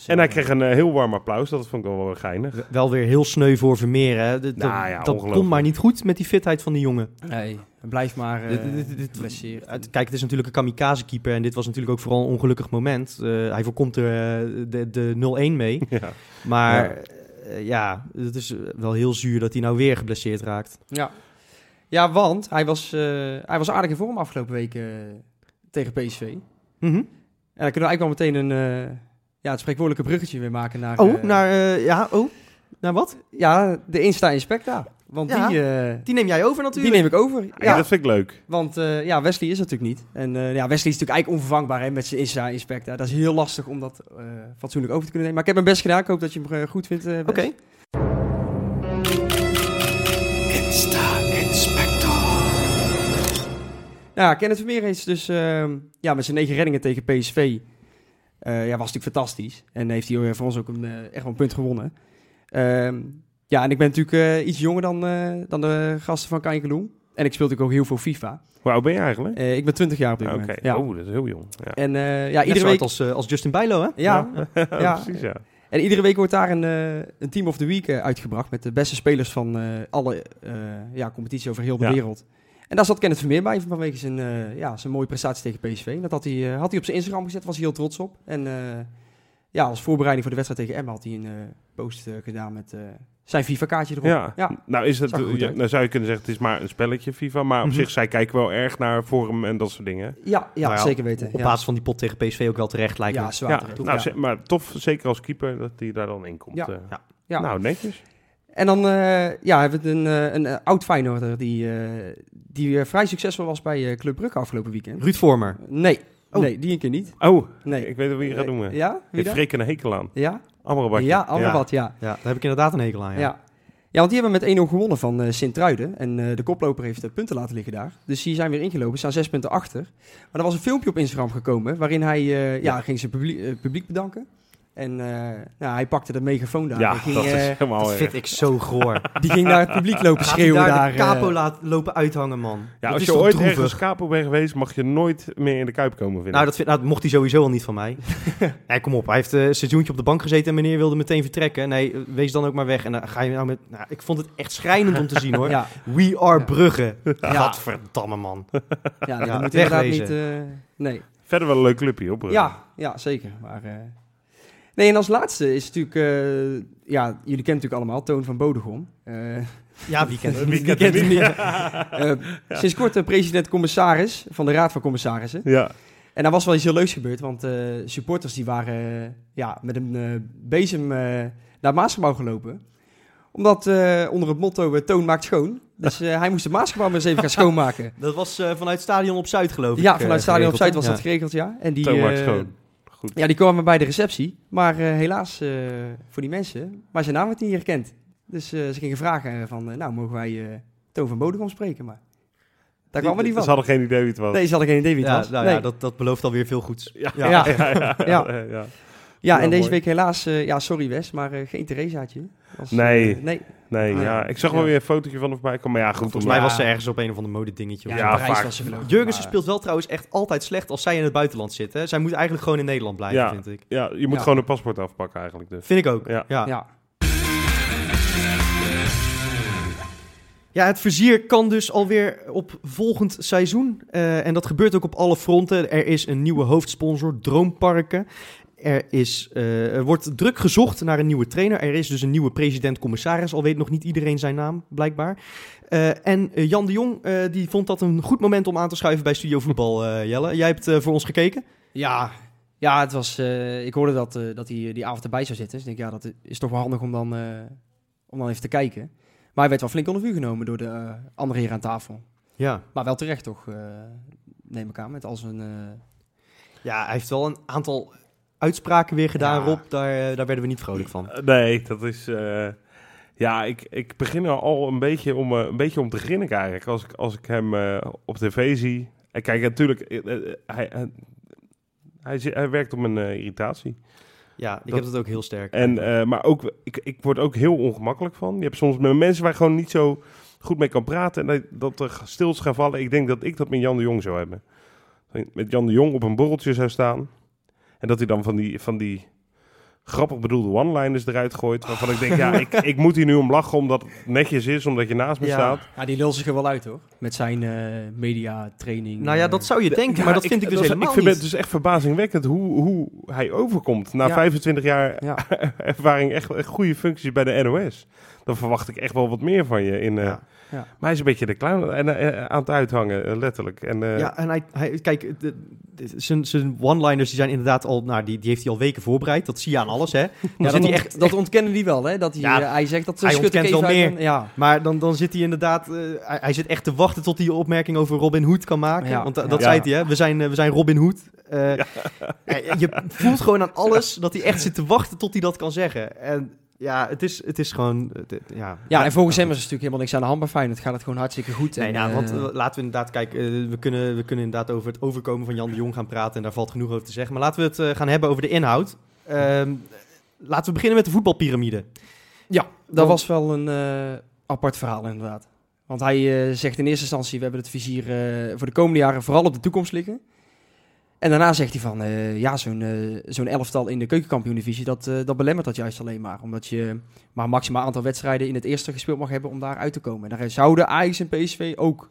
Speaker 3: zo.
Speaker 1: en hij kreeg een eh, heel warm applaus. Dat vond ik wel wel geinig.
Speaker 2: Wel weer heel sneu voor Vermeer, hè. Dat,
Speaker 1: Nou ja,
Speaker 2: dat- dat
Speaker 1: ongelooflijk.
Speaker 2: komt maar niet goed met die fitheid van die jongen.
Speaker 3: Nee, blijf maar eh
Speaker 2: Dit- dit- dit- dit-
Speaker 3: geblesseerd.
Speaker 2: Het- Kijk, het is natuurlijk een kamikaze-keeper en dit was natuurlijk ook vooral een ongelukkig moment. Eh, hij voorkomt er eh, de, de 0-1 mee.
Speaker 1: Ja.
Speaker 2: Maar eh, ja, het is eh, wel heel zuur dat hij nou weer geblesseerd raakt.
Speaker 3: Ja. ja, want hij was, eh, hij was aardig in vorm afgelopen week eh, tegen PSV. En
Speaker 2: Mhm.
Speaker 3: dan kunnen we eigenlijk wel meteen een, eh, ja, het spreekwoordelijke bruggetje weer maken naar...
Speaker 2: Oh,
Speaker 3: eh,
Speaker 2: naar, eh, ja, oh, naar wat?
Speaker 3: Ja, de Insta Inspecta. Want
Speaker 2: Ja.
Speaker 3: die, eh,
Speaker 2: Die neem jij over
Speaker 3: die
Speaker 2: natuurlijk.
Speaker 3: neem ik over. Ja,
Speaker 1: Ja, dat vind ik leuk.
Speaker 3: Want eh, ja, Wesley is natuurlijk niet. En eh, ja, Wesley is natuurlijk eigenlijk onvervangbaar hè, met zijn Insta Inspecta. Dat is heel lastig om dat eh, fatsoenlijk over te kunnen nemen. Maar ik heb mijn best gedaan. Ik hoop dat je hem eh, goed vindt, eh, Wes.
Speaker 2: Oké.
Speaker 3: Ja, Kenneth Vermeer is dus ehm, ja, met zijn negen reddingen tegen PSV. eh, ja, was natuurlijk fantastisch. En heeft hij eh, voor ons ook een, eh, echt wel een punt gewonnen. Ehm, ja, en ik ben natuurlijk eh, iets jonger dan, eh, dan de gasten van Kanjekeloen. En ik speel natuurlijk ook heel veel FIFA.
Speaker 1: Hoe oud ben je eigenlijk?
Speaker 3: Eh, ik ben 20 jaar op dit
Speaker 1: Oké,
Speaker 3: moment. Ja.
Speaker 1: oh, dat is heel jong. Ja,
Speaker 3: En eh, ja,
Speaker 2: Net zo
Speaker 3: iedere
Speaker 2: hard
Speaker 3: week...
Speaker 2: als, eh, als Justin Bijlo, hè?
Speaker 3: Ja, ja.
Speaker 1: precies, ja.
Speaker 3: en iedere week wordt daar een, eh, een Team of the Week eh, uitgebracht met de beste spelers van eh, alle eh ja, competities over heel de
Speaker 1: Ja.
Speaker 3: wereld. En daar zat Kenneth Vermeer bij vanwege zijn, eh, ja, zijn mooie prestatie tegen PSV. En Dat had hij, eh, had hij op zijn Instagram gezet, was hij heel trots op. En eh, ja, als voorbereiding voor de wedstrijd tegen Emma had hij een eh, post eh, gedaan met eh, zijn FIFA-kaartje erop.
Speaker 1: Ja.
Speaker 3: Ja.
Speaker 1: nou is het,
Speaker 3: Zag er goed
Speaker 1: ja,
Speaker 3: uit.
Speaker 1: nou zou je kunnen zeggen, het is maar een spelletje FIFA, maar
Speaker 2: Mhm.
Speaker 1: op zich, zij kijken wel erg naar vorm en dat soort dingen.
Speaker 3: Ja, ja,
Speaker 2: Nou ja,
Speaker 3: zeker weten.
Speaker 2: Op
Speaker 3: ja.
Speaker 2: basis van die pot tegen PSV ook wel terecht lijkt
Speaker 3: ja,
Speaker 2: me.
Speaker 3: zwaar
Speaker 1: ja,
Speaker 3: terecht.
Speaker 1: nou,
Speaker 3: Ja.
Speaker 1: ze- maar tof, zeker als keeper, dat die daar dan in komt.
Speaker 3: Ja.
Speaker 1: eh.
Speaker 2: Ja.
Speaker 3: Ja.
Speaker 1: Nou, netjes.
Speaker 3: En dan eh, ja, hebben we een, eh, een eh, oud Feyenoorder die, eh, die eh, vrij succesvol was bij eh, Club Brugge afgelopen weekend.
Speaker 2: Ruud Vormer.
Speaker 3: Nee,
Speaker 2: Oh.
Speaker 3: nee, die een keer niet.
Speaker 1: Oh,
Speaker 3: Nee.
Speaker 1: ik weet wel wie je gaat noemen. Ik
Speaker 3: Ja? Wie
Speaker 1: Heeft
Speaker 3: dan?
Speaker 1: Freek een hekel aan.
Speaker 3: Ja?
Speaker 1: Amrabat.
Speaker 3: Ja, Amrabat, ja.
Speaker 2: Ja, daar heb ik inderdaad een hekel aan.
Speaker 3: Ja.
Speaker 2: Ja.
Speaker 3: ja. want die hebben met 1-0 gewonnen van eh Sint-Truiden. En eh, de koploper heeft eh, punten laten liggen daar. Dus die zijn weer ingelopen, staan zes punten achter. Maar er was een filmpje op Instagram gekomen waarin hij eh, ja, ging zijn publiek, eh, publiek bedanken. En eh, nou, hij pakte de megafoon daar.
Speaker 1: Ja,
Speaker 3: en ging,
Speaker 1: dat
Speaker 3: eh,
Speaker 1: is helemaal
Speaker 2: Dat
Speaker 1: erg.
Speaker 2: vind ik zo goor.
Speaker 3: Die ging naar het publiek lopen
Speaker 2: Gaat hij
Speaker 3: schreeuwen
Speaker 2: daar,
Speaker 3: daar.
Speaker 2: de
Speaker 3: eh,
Speaker 2: capo laat lopen uithangen, man.
Speaker 1: Ja,
Speaker 2: Dat
Speaker 1: als
Speaker 2: is
Speaker 1: je
Speaker 2: toch
Speaker 1: ooit
Speaker 2: droevig?
Speaker 1: ergens kapo bent geweest, mag je nooit meer in de Kuip komen vinden.
Speaker 2: Nou, dat, vind, nou, dat mocht hij sowieso al niet van mij. nee, kom op. Hij heeft eh, een seizoentje op de bank gezeten en meneer wilde meteen vertrekken. Nee, eh, wees dan ook maar weg. En dan ga je nou met... Nou, ik vond het echt schrijnend om te zien, hoor.
Speaker 3: ja,
Speaker 2: We are
Speaker 3: Ja.
Speaker 2: Brugge.
Speaker 3: Ja.
Speaker 2: Gadverdamme, man.
Speaker 3: ja, dat
Speaker 2: Ja,
Speaker 3: moet inderdaad
Speaker 2: wegwezen.
Speaker 3: niet... eh, nee.
Speaker 1: Verder wel een leuk clubje, hoor. Brugge.
Speaker 3: Ja, ja, zeker. Maar, eh, Nee, en als laatste is natuurlijk... eh, ja, jullie kennen natuurlijk allemaal Toon van Bodegom. Eh,
Speaker 2: Ja, wie kent hem
Speaker 1: Wie
Speaker 2: niet?
Speaker 1: kent
Speaker 2: Wie kent
Speaker 1: hem
Speaker 2: hem niet?
Speaker 3: Eh, Sinds kort eh, president-commissaris van de Raad van Commissarissen.
Speaker 1: Ja,
Speaker 3: En daar was wel iets heel leuks gebeurd, want eh, supporters die waren eh, ja, met een eh, bezem eh, naar het Maasgebouw gelopen. Omdat eh, onder het motto eh, Toon maakt schoon. Dus eh, hij moest het Maasgebouw maar eens even gaan schoonmaken.
Speaker 2: Dat was eh, vanuit Stadion op Zuid, geloof ik.
Speaker 3: ja,
Speaker 2: eh,
Speaker 3: vanuit Stadion op
Speaker 2: geregeld,
Speaker 3: Zuid
Speaker 2: hè?
Speaker 3: was dat geregeld, ja. En die,
Speaker 1: Toon maakt
Speaker 3: eh,
Speaker 1: schoon. Goed.
Speaker 3: Ja, die kwamen bij de receptie. Maar eh, helaas eh, voor die mensen, maar zijn naam werd niet herkend. Dus eh, ze gingen vragen eh, van, eh, nou mogen wij eh, Toon van Bodegom spreken? Maar daar kwam er niet van.
Speaker 1: Ze hadden geen idee wie het was.
Speaker 3: Nee, ze hadden geen idee wie het
Speaker 2: Ja,
Speaker 3: was.
Speaker 2: nou
Speaker 3: nee.
Speaker 2: ja, dat, dat belooft alweer veel goeds.
Speaker 1: Ja,
Speaker 3: Ja.
Speaker 1: ja, ja, ja, ja.
Speaker 3: Ja, en
Speaker 1: Ja,
Speaker 3: deze
Speaker 1: mooi.
Speaker 3: week helaas, eh, ja, sorry Wes, maar eh, geen Theresaatje. Als, eh,
Speaker 1: Nee.
Speaker 3: nee.
Speaker 1: Nee,
Speaker 3: Ah,
Speaker 1: ja.
Speaker 3: ja.
Speaker 1: Ik zag wel
Speaker 3: Ja.
Speaker 1: weer een fotootje van hem voorbij komen. Maar ja, goed.
Speaker 2: Volgens
Speaker 1: omdat-
Speaker 2: mij was ze ergens op een of ander modedingetje. of
Speaker 1: Ja,
Speaker 2: zo.
Speaker 1: Parijs vaak. was
Speaker 3: ze
Speaker 2: Jurgensen speelt wel trouwens echt altijd slecht als zij in het buitenland zit. Hè? Zij moet eigenlijk gewoon in Nederland blijven,
Speaker 1: Ja.
Speaker 2: vind ik.
Speaker 1: Ja, je moet
Speaker 3: Ja.
Speaker 1: gewoon een paspoort afpakken eigenlijk. Dus.
Speaker 2: Vind ik ook.
Speaker 1: Ja.
Speaker 2: Ja.
Speaker 3: Ja.
Speaker 2: Ja, het vizier kan dus alweer op volgend seizoen. Eh, en dat gebeurt ook op alle fronten. Er is een nieuwe hoofdsponsor, Droomparken. Er, is, eh, er wordt druk gezocht naar een nieuwe trainer. Er is dus een nieuwe president-commissaris, al weet nog niet iedereen zijn naam, blijkbaar. Eh, en eh, Jan de Jong eh, die vond dat een goed moment om aan te schuiven bij Studio Voetbal, eh, Jelle. Jij hebt eh, voor ons gekeken.
Speaker 3: Ja. ja, het was, eh, ik hoorde dat, eh, dat hij eh, die avond erbij zou zitten. Dus ik denk, ja, dat is toch wel handig om dan, eh, om dan even te kijken. Maar hij werd wel flink onder vuur genomen door de eh, andere heren aan tafel.
Speaker 2: Ja.
Speaker 3: Maar wel terecht toch, eh, neem ik aan, met al zijn... eh,
Speaker 2: ja, hij heeft wel een aantal uitspraken weer gedaan,
Speaker 3: Ja.
Speaker 2: Rob. Daar, eh, daar werden we niet vrolijk van.
Speaker 1: Eh, Nee, dat is... eh, ja, ik, ik begin er al een beetje om, eh, een beetje om te grinniken eigenlijk. Als ik, als ik hem eh, op tv zie. En kijk, natuurlijk... eh, eh, hij, eh, hij, zi- hij werkt op mijn eh, irritatie.
Speaker 2: Ja, ik
Speaker 1: Dat-
Speaker 2: heb dat ook heel sterk.
Speaker 1: En, eh, maar ook, ik, ik word ook heel ongemakkelijk van. Je hebt soms met mensen waar je gewoon niet zo goed mee kan praten. En dat, dat er stil is gaan vallen. Ik denk dat ik dat met Jan de Jong zou hebben. Dat ik Met Jan de Jong op een borreltje zou staan. En dat hij dan van die, van die grappig bedoelde one-liners eruit gooit. Waarvan ik denk, ja, ik, ik moet hier nu om lachen omdat het netjes is. Omdat je naast me
Speaker 2: Ja.
Speaker 1: staat.
Speaker 3: ja, die lul zich er wel uit hoor. Met zijn eh mediatraining.
Speaker 2: Nou ja,
Speaker 3: eh,
Speaker 2: dat zou je denken,
Speaker 1: Ja,
Speaker 2: maar dat vind ik dus
Speaker 1: dat is-
Speaker 2: helemaal
Speaker 1: Ik vind
Speaker 2: niet.
Speaker 1: het dus echt verbazingwekkend hoe, hoe hij overkomt. Na
Speaker 3: Ja.
Speaker 1: 25 jaar
Speaker 3: Ja.
Speaker 1: ervaring, echt, echt goede functies bij de NOS. Dan verwacht ik echt wel wat meer van je. In, eh,
Speaker 2: Ja.
Speaker 3: Ja.
Speaker 1: Maar hij is een beetje de clown en, eh, aan het uithangen, eh, letterlijk. En, eh,
Speaker 2: ja, en hij, hij kijk, de- de- zijn- zijn one-liners die zijn inderdaad al, nou, die, die heeft hij al weken voorbereid. Dat zie je aan alles, hè.
Speaker 3: Ja,
Speaker 2: Dan
Speaker 3: dat,
Speaker 2: zit hij
Speaker 3: ont-
Speaker 2: echt,
Speaker 3: dat ontkennen die wel, hè? Dat hij,
Speaker 2: Ja,
Speaker 3: eh, hij zegt dat ze
Speaker 2: hij
Speaker 3: schud ik
Speaker 2: ontkent
Speaker 3: even
Speaker 2: wel
Speaker 3: uit
Speaker 2: meer.
Speaker 3: mijn- Ja,
Speaker 2: maar dan, dan zit hij inderdaad, eh, hij, hij zit echt te wachten tot hij een opmerking over Robin Hood kan maken.
Speaker 3: Ja,
Speaker 2: Want da-
Speaker 3: ja.
Speaker 2: dat
Speaker 1: Ja.
Speaker 2: zei hij, hè. We zijn, eh, we zijn Robin Hood. Eh, eh, Je voelt gewoon aan alles dat hij echt zit te wachten tot hij dat kan zeggen. En ja, het is, het is gewoon, eh, dit- ja.
Speaker 3: Ja, en volgens hem is er natuurlijk helemaal niks aan de hand bij Feyenoord. Het gaat het gewoon hartstikke goed.
Speaker 2: Nee,
Speaker 3: en,
Speaker 2: ja,
Speaker 3: eh,
Speaker 2: want eh, laten we inderdaad kijken. eh, we, kunnen, we kunnen inderdaad over het overkomen van Jan de Jong gaan praten. En daar valt genoeg over te zeggen. Maar laten we het eh, gaan hebben over de inhoud. Ehm, laten we beginnen met de voetbalpyramide.
Speaker 3: ja, dat
Speaker 2: want-
Speaker 3: was wel een eh, apart verhaal inderdaad. Want hij eh, zegt in eerste instantie, we hebben het vizier eh, voor de komende jaren vooral op de toekomst liggen. En daarna zegt hij van, eh, ja, zo'n eh, zo'n elftal in de keukenkampioen-divisie, dat, eh, dat belemmert dat juist alleen maar. Omdat je maar een maximaal aantal wedstrijden in het eerste gespeeld mag hebben om daar uit te komen. En daar zouden Ajax en PSV ook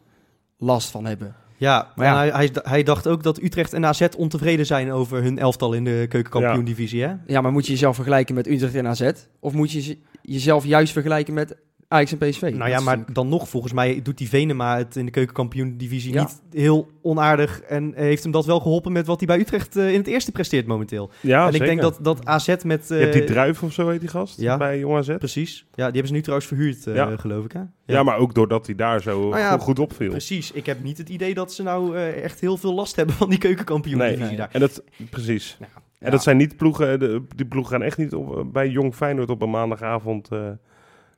Speaker 3: last van hebben.
Speaker 2: Ja,
Speaker 3: Maar ja.
Speaker 2: en Hij, hij, hij dacht ook dat Utrecht en AZ ontevreden zijn over hun elftal in de keukenkampioen-divisie. hè?
Speaker 3: Ja, maar moet je jezelf vergelijken met Utrecht en AZ? Of moet je je- jezelf juist vergelijken met Ajax en PSV.
Speaker 2: Nou ja, maar dan nog, volgens mij doet die Venema het in de keukenkampioen-divisie
Speaker 3: Ja.
Speaker 2: niet heel onaardig. En heeft hem dat wel geholpen met wat hij bij Utrecht eh, in het eerste presteert momenteel.
Speaker 1: Ja,
Speaker 2: en ik
Speaker 1: zeker.
Speaker 2: denk dat, dat AZ met...
Speaker 1: Je hebt die
Speaker 2: eh,
Speaker 1: druif of zo heet die gast
Speaker 2: ja.
Speaker 1: bij Jong AZ. Ja.
Speaker 2: Precies. Ja, die hebben ze nu trouwens verhuurd, eh,
Speaker 1: Ja.
Speaker 2: geloof ik. Hè? Ja.
Speaker 1: maar ook doordat hij daar zo
Speaker 2: Ah ja,
Speaker 1: go- goed opviel.
Speaker 2: Precies. Ik heb niet het idee dat ze nou eh, echt heel veel last hebben van die keukenkampioen-divisie
Speaker 1: Nee.
Speaker 2: daar.
Speaker 1: En dat, precies.
Speaker 2: Ja.
Speaker 1: En dat zijn niet ploegen, eh, de- die ploegen gaan echt niet op, eh, bij Jong Feyenoord op een maandagavond eh,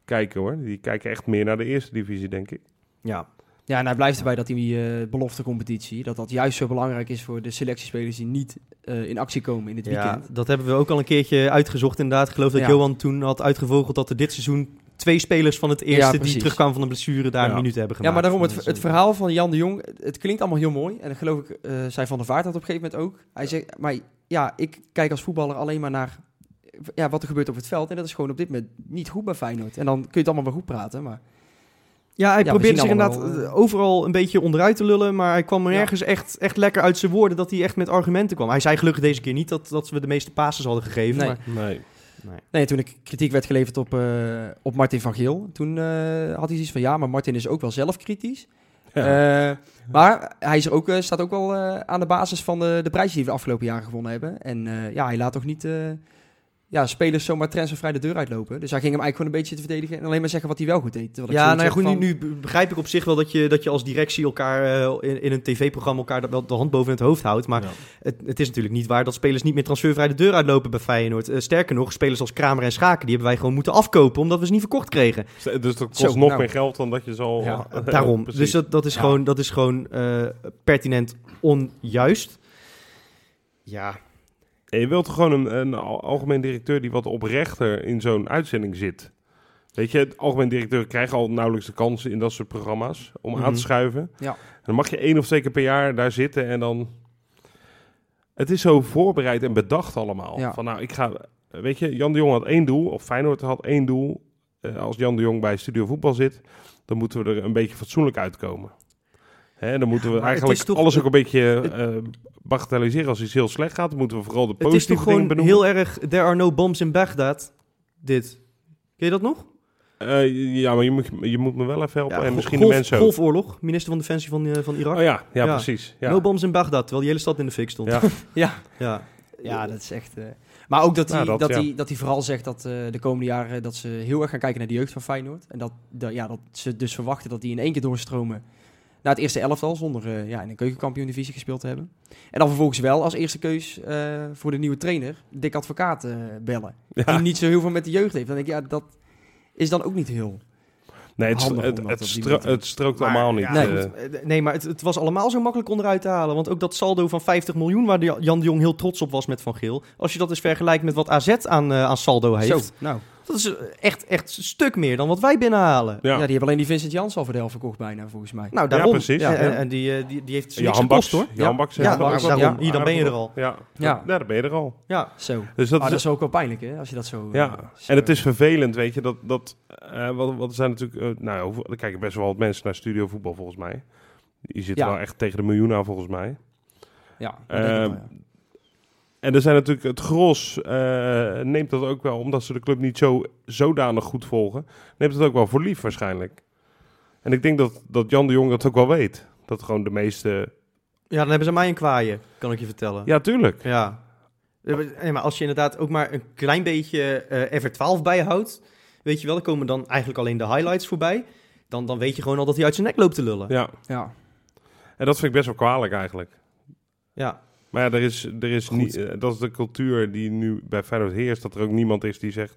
Speaker 1: kijken hoor. Die kijken echt meer naar de eerste divisie, denk ik.
Speaker 2: Ja.
Speaker 3: Ja, en hij blijft erbij dat die eh beloftecompetitie, dat dat juist zo belangrijk is voor de selectiespelers die niet eh, in actie komen in het
Speaker 2: ja,
Speaker 3: weekend.
Speaker 2: dat hebben we ook al een keertje uitgezocht inderdaad. Ik geloof dat
Speaker 3: Ja.
Speaker 2: Johan toen had uitgevogeld dat er dit seizoen twee spelers van het eerste die
Speaker 3: precies.
Speaker 2: terugkwamen van de blessure daar
Speaker 1: Ja.
Speaker 2: een minuut hebben gemaakt. Dus, eh,
Speaker 3: Ja, maar daarom,
Speaker 2: Van
Speaker 3: het,
Speaker 2: de-
Speaker 3: het verhaal van Jan de Jong, het- het klinkt allemaal heel mooi. En dat geloof ik, eh zei Van der Vaart dat op een gegeven moment ook. Hij zegt, maar ja, ik kijk als voetballer alleen maar naar eh, ja, wat er gebeurt op het veld. En dat is gewoon op dit moment niet goed bij Feyenoord. En dan kun je het allemaal wel goed praten, maar...
Speaker 2: Ja, hij
Speaker 3: Ja, we
Speaker 2: probeerde
Speaker 3: zien
Speaker 2: zich inderdaad
Speaker 3: allemaal wel,
Speaker 2: eh, overal een beetje onderuit te lullen, maar hij kwam er
Speaker 3: Ja.
Speaker 2: nergens echt, echt lekker uit zijn woorden dat hij echt met argumenten kwam. Hij zei gelukkig deze keer niet dat, dat we de meeste passes hadden gegeven,
Speaker 3: Nee.
Speaker 2: maar
Speaker 1: Nee.
Speaker 3: Nee, toen ik kritiek werd geleverd op, eh, op Martin van Geel, toen eh, had hij iets van ja, maar Martin is ook wel zelf kritisch. Eh, maar hij is er ook, eh, staat ook wel eh, aan de basis van de, de prijzen die we de afgelopen jaren gewonnen hebben. En eh, ja, hij laat toch niet eh, ja, spelers zomaar transfervrij de deur uitlopen. Dus hij ging hem eigenlijk gewoon een beetje te verdedigen en alleen maar zeggen wat hij wel goed deed. Terwijl ik
Speaker 2: Ja,
Speaker 3: zoiets
Speaker 2: nou ja, goed,
Speaker 3: heb
Speaker 2: nu,
Speaker 3: van-
Speaker 2: nu be- begrijp ik op zich wel dat je, dat je als directie elkaar eh, in, in een tv-programma elkaar dat wel de hand boven het hoofd houdt. Maar
Speaker 1: Ja.
Speaker 2: het, het is natuurlijk niet waar dat spelers niet meer transfervrij de deur uitlopen bij Feyenoord. Eh, sterker nog, spelers als Kramer en Schaken, die hebben wij gewoon moeten afkopen omdat we ze niet verkocht kregen.
Speaker 1: Dus dat kost
Speaker 3: Zo,
Speaker 1: nog
Speaker 3: nou.
Speaker 1: meer geld dan dat je eh, zal...
Speaker 3: Ja,
Speaker 2: Daarom.
Speaker 1: Precies.
Speaker 2: dus dat, dat is
Speaker 3: Ja.
Speaker 2: gewoon, dat is gewoon eh, pertinent onjuist. Ja,
Speaker 1: En je wilt toch gewoon een, een al- algemeen directeur die wat oprechter in zo'n uitzending zit. Weet je, het algemeen directeur krijgt al nauwelijks de kans in dat soort programma's om aan
Speaker 2: Mhm.
Speaker 1: te schuiven.
Speaker 3: Ja.
Speaker 1: En dan mag je één of twee keer per jaar daar zitten en dan... Het is zo voorbereid en bedacht allemaal.
Speaker 3: Ja.
Speaker 1: Van nou, ik ga... Weet je, Jan de Jong had één doel, of Feyenoord had één doel. Eh, als Jan de Jong bij Studio Voetbal zit, dan moeten we er een beetje fatsoenlijk uitkomen. Hè, dan moeten we
Speaker 2: maar het
Speaker 1: eigenlijk
Speaker 2: is toch-
Speaker 1: alles ook een beetje eh bagatelliseren als iets heel slecht gaat. Dan moeten we vooral de
Speaker 2: het is
Speaker 1: positieve
Speaker 2: toch gewoon
Speaker 1: dingen benoemen.
Speaker 2: heel erg There are no bombs in Baghdad, dit. Ken je dat nog?
Speaker 1: Eh, ja, maar je moet, je moet me wel even helpen.
Speaker 2: Ja,
Speaker 1: en
Speaker 2: go-
Speaker 1: misschien
Speaker 2: golf-
Speaker 1: de mensen ook.
Speaker 2: Golfoorlog, minister van Defensie van, eh, van Irak.
Speaker 1: Oh ja, ja,
Speaker 2: Ja.
Speaker 1: precies. Ja.
Speaker 2: No bombs in Baghdad, terwijl die hele stad in de fik stond.
Speaker 1: Ja.
Speaker 3: Ja.
Speaker 2: Ja.
Speaker 3: Ja, dat is echt. eh, maar ook dat hij,
Speaker 1: Ja, dat,
Speaker 3: dat,
Speaker 1: ja.
Speaker 3: hij, dat hij vooral zegt dat eh, de komende jaren dat ze heel erg gaan kijken naar de jeugd van Feyenoord. En dat, dat- ja, dat ze dus verwachten dat die in één keer doorstromen naar het eerste elftal zonder eh, ja, in een keukenkampioen-divisie gespeeld te hebben. En dan vervolgens wel als eerste keus eh, voor de nieuwe trainer Dick Advocaat eh, bellen.
Speaker 1: Ja.
Speaker 3: Die niet zo heel veel met de jeugd heeft. Dan denk ik, ja, dat is dan ook niet heel.
Speaker 1: Nee, het,
Speaker 3: Handig om
Speaker 1: het,
Speaker 3: dat
Speaker 1: het,
Speaker 3: op die
Speaker 1: stro-
Speaker 3: manier te doen.
Speaker 1: het strookt
Speaker 2: Maar,
Speaker 1: allemaal niet.
Speaker 2: ja,
Speaker 1: eh.
Speaker 3: Nee.
Speaker 2: goed, eh, nee, maar het, het was allemaal zo makkelijk onderuit te halen. Want ook dat saldo van 50 miljoen, waar de Jan de Jong heel trots op was met Van Geel. Als je dat eens vergelijkt met wat AZ aan, eh, aan saldo heeft.
Speaker 3: Zo, nou.
Speaker 2: Dat is eh, echt, echt een stuk meer dan wat wij binnenhalen.
Speaker 3: Ja.
Speaker 1: ja.
Speaker 3: die hebben alleen die Vincent Jans al voor de helft verkocht bijna, volgens mij.
Speaker 2: Nou, daarom.
Speaker 1: Ja, precies.
Speaker 2: En,
Speaker 1: Ja.
Speaker 2: en- en die, eh, die, die heeft ze niks
Speaker 1: Johan
Speaker 2: gekost
Speaker 1: Baks,
Speaker 2: hoor.
Speaker 1: Johan Baks heeft
Speaker 2: Ja,
Speaker 1: er ook
Speaker 3: Baks,
Speaker 1: wel
Speaker 3: daarom.
Speaker 1: wat
Speaker 2: Hier, dan ben je er
Speaker 1: aardig
Speaker 2: al.
Speaker 1: Ja,
Speaker 3: Ja.
Speaker 1: ja. daar ben je er al.
Speaker 2: Ja,
Speaker 3: zo.
Speaker 1: Dus dat
Speaker 3: Ah,
Speaker 1: is
Speaker 3: dat is ook wel pijnlijk, hè, als je dat zo... eh,
Speaker 1: Ja,
Speaker 3: zo-
Speaker 1: en het is vervelend, weet je, dat, dat eh wat, wat zijn natuurlijk, eh, nou, hoeveel- er kijken best wel wat mensen naar studio voetbal volgens mij. Die zitten
Speaker 3: Ja.
Speaker 1: wel echt tegen de miljoen aan volgens mij.
Speaker 3: Ja, dat denk ik wel,
Speaker 1: Ehm,
Speaker 3: ja.
Speaker 1: En er zijn natuurlijk het gros eh, neemt dat ook wel, omdat ze de club niet zo zodanig goed volgen, neemt het ook wel voor lief waarschijnlijk. En ik denk dat, dat Jan de Jong dat ook wel weet. Dat gewoon de meeste.
Speaker 2: ja, dan hebben ze mij een kwaaien, kan ik je vertellen.
Speaker 1: Ja, tuurlijk.
Speaker 2: Ja. Ja, maar- nee, maar als je inderdaad ook maar een klein beetje eh FR12 bijhoudt, weet je wel, er komen dan eigenlijk alleen de highlights voorbij. Dan, dan weet je gewoon al dat hij uit zijn nek loopt te lullen. Ja.
Speaker 1: Ja.
Speaker 3: ja.
Speaker 1: En dat vind ik best wel kwalijk eigenlijk. Maar ja, er is, er is
Speaker 3: Goed.
Speaker 1: niet, eh, dat is de cultuur die nu bij Feyenoord heerst, dat er ook niemand is die zegt...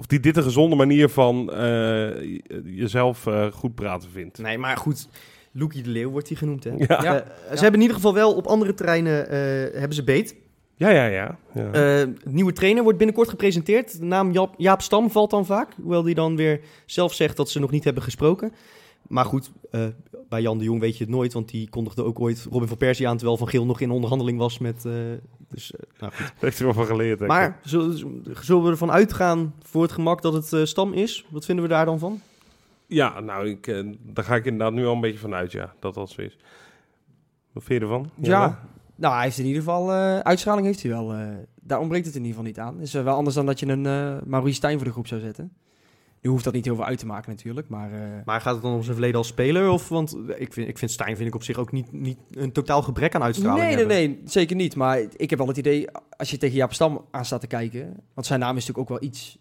Speaker 1: Of die dit een gezonde manier van eh, je- jezelf eh, goed praten vindt.
Speaker 2: Nee, maar goed, Loekie de Leeuw wordt hij genoemd, hè?
Speaker 1: Ja,
Speaker 3: Ja.
Speaker 2: Eh, ze hebben in ieder geval wel op andere terreinen eh, hebben ze beet.
Speaker 1: ja, ja. ja, ja.
Speaker 2: Eh, nieuwe trainer wordt binnenkort gepresenteerd. De naam Jaap, Jaap Stam valt dan vaak. Hoewel die dan weer zelf zegt dat ze nog niet hebben gesproken. Maar goed, eh, bij Jan de Jong weet je het nooit. Want die kondigde ook ooit Robin van Persie aan. Terwijl Van Geel nog in onderhandeling was met. eh, dus, eh, nou goed.
Speaker 1: Daar heeft hij wel van geleerd. denk ik.
Speaker 2: Maar zullen, zullen we ervan uitgaan voor het gemak dat het eh, Stam is? Wat vinden we daar dan van?
Speaker 1: Ja, nou, ik, eh, daar ga ik inderdaad nu al een beetje van uit, ja, dat dat zo is. Wat vind je ervan?
Speaker 3: Ja, nou, hij heeft in ieder geval, eh, uitstraling heeft hij wel. eh, daar ontbreekt het in ieder geval niet aan. Is eh, wel anders dan dat je een eh Maurice Stijn voor de groep zou zetten. Nu hoeft dat niet heel veel uit te maken natuurlijk, maar... eh,
Speaker 2: Maar gaat het dan om zijn verleden als speler? Of, want ik vind, ik vind Stijn vind ik op zich ook niet, niet een totaal gebrek aan uitstraling
Speaker 3: nee, nee,
Speaker 2: hebben.
Speaker 3: nee, zeker niet. Maar ik heb wel het idee, als je tegen Jaap Stam aan staat te kijken... Want zijn naam is natuurlijk ook wel iets...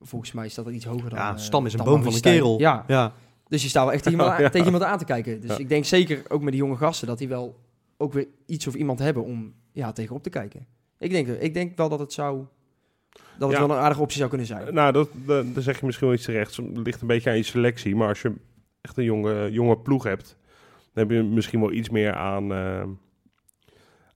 Speaker 3: Volgens mij staat dat iets hoger dan...
Speaker 2: Ja,
Speaker 3: eh,
Speaker 2: Stam is een
Speaker 3: dan
Speaker 2: boom van
Speaker 3: Maurice
Speaker 2: een
Speaker 3: Stijn.
Speaker 2: kerel.
Speaker 3: Ja,
Speaker 2: Ja,
Speaker 3: dus je staat wel echt tegen iemand, aan-
Speaker 1: Ja.
Speaker 3: tegen iemand aan te kijken. Dus
Speaker 1: Ja.
Speaker 3: ik denk zeker ook met die jonge gasten... dat die wel ook weer iets of iemand hebben om ja, tegenop te kijken. Ik denk, ik denk wel dat het zou... Dat het
Speaker 1: Ja.
Speaker 3: wel een aardige optie zou kunnen zijn.
Speaker 1: Nou, dat, dat, daar zeg je misschien wel iets terecht. Het ligt een beetje aan je selectie. Maar als je echt een jonge, jonge ploeg hebt, dan heb je misschien wel iets meer aan, eh,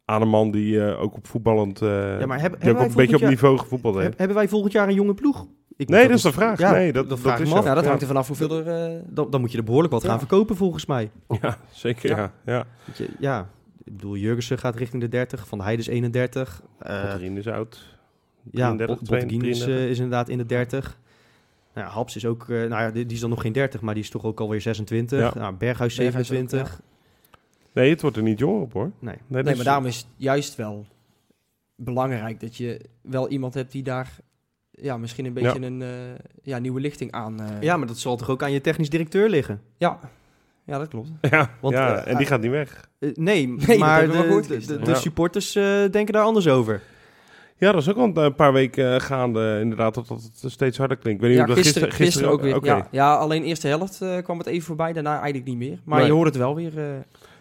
Speaker 1: aan een man die eh, ook op voetballend. eh,
Speaker 2: ja maar heb,
Speaker 1: die ook
Speaker 2: hebben,
Speaker 1: een beetje
Speaker 2: wij volgend
Speaker 1: op
Speaker 2: jaar,
Speaker 1: niveau gevoetbald heeft.
Speaker 2: heb- hebben wij volgend jaar een jonge ploeg? Ik
Speaker 1: nee,
Speaker 2: moet dus-
Speaker 1: dat is de vraag.
Speaker 2: Ja,
Speaker 1: nee, dat,
Speaker 2: dat
Speaker 1: dat,
Speaker 2: vraag ik
Speaker 1: is
Speaker 2: me af.
Speaker 1: zo.
Speaker 3: Nou, dat
Speaker 1: dus Ja.
Speaker 3: hangt er vanaf hoeveel er... eh,
Speaker 2: Dan, dan moet je er behoorlijk wat
Speaker 3: Ja.
Speaker 2: gaan verkopen volgens mij.
Speaker 1: Ja, zeker.
Speaker 3: Ja.
Speaker 1: Ja. Ja.
Speaker 2: Weet je, Ja, ik bedoel, Jurgensen gaat richting de 30, Van de Heide is 31. eh
Speaker 1: Potterin is oud.
Speaker 2: ja,
Speaker 1: 33,
Speaker 2: Botteguin is,
Speaker 1: 32.
Speaker 2: eh, is inderdaad in de 30. Nou, ja, Haps is ook, eh, nou ja, die, die is dan nog geen 30, maar die is toch ook alweer 26.
Speaker 1: Ja.
Speaker 2: Nou, Berghuis
Speaker 3: Berghuis
Speaker 2: 27.
Speaker 3: ook,
Speaker 1: Nee, het wordt er niet jonger op hoor.
Speaker 2: Nee.
Speaker 1: dat
Speaker 3: Nee,
Speaker 1: is-
Speaker 3: maar daarom is het juist wel belangrijk dat je wel iemand hebt die daar ja, misschien een beetje een eh, ja, nieuwe lichting aan. eh,
Speaker 2: Ja, maar dat zal toch ook aan je technisch directeur liggen?
Speaker 3: ja. ja, dat klopt.
Speaker 1: Ja,
Speaker 2: Want,
Speaker 1: ja
Speaker 2: eh,
Speaker 1: en die gaat niet weg.
Speaker 2: Eh, nee,
Speaker 3: dat
Speaker 2: maar
Speaker 3: hebben we
Speaker 2: de,
Speaker 3: gehoord
Speaker 2: de,
Speaker 3: gisteren.
Speaker 2: de- de
Speaker 1: Ja.
Speaker 2: supporters eh, denken daar anders over.
Speaker 1: Ja, dat is ook al een eh, paar weken eh, gaande. Inderdaad, dat dat het steeds harder klinkt. Ik weet
Speaker 3: Ja,
Speaker 1: niet of
Speaker 3: gisteren,
Speaker 1: dat
Speaker 3: gisteren, ook weer.
Speaker 1: Oké.
Speaker 3: Ja, ja, alleen eerste helft eh, kwam het even voorbij, daarna eigenlijk niet meer. Maar
Speaker 1: Nee.
Speaker 3: je hoort het wel weer. eh,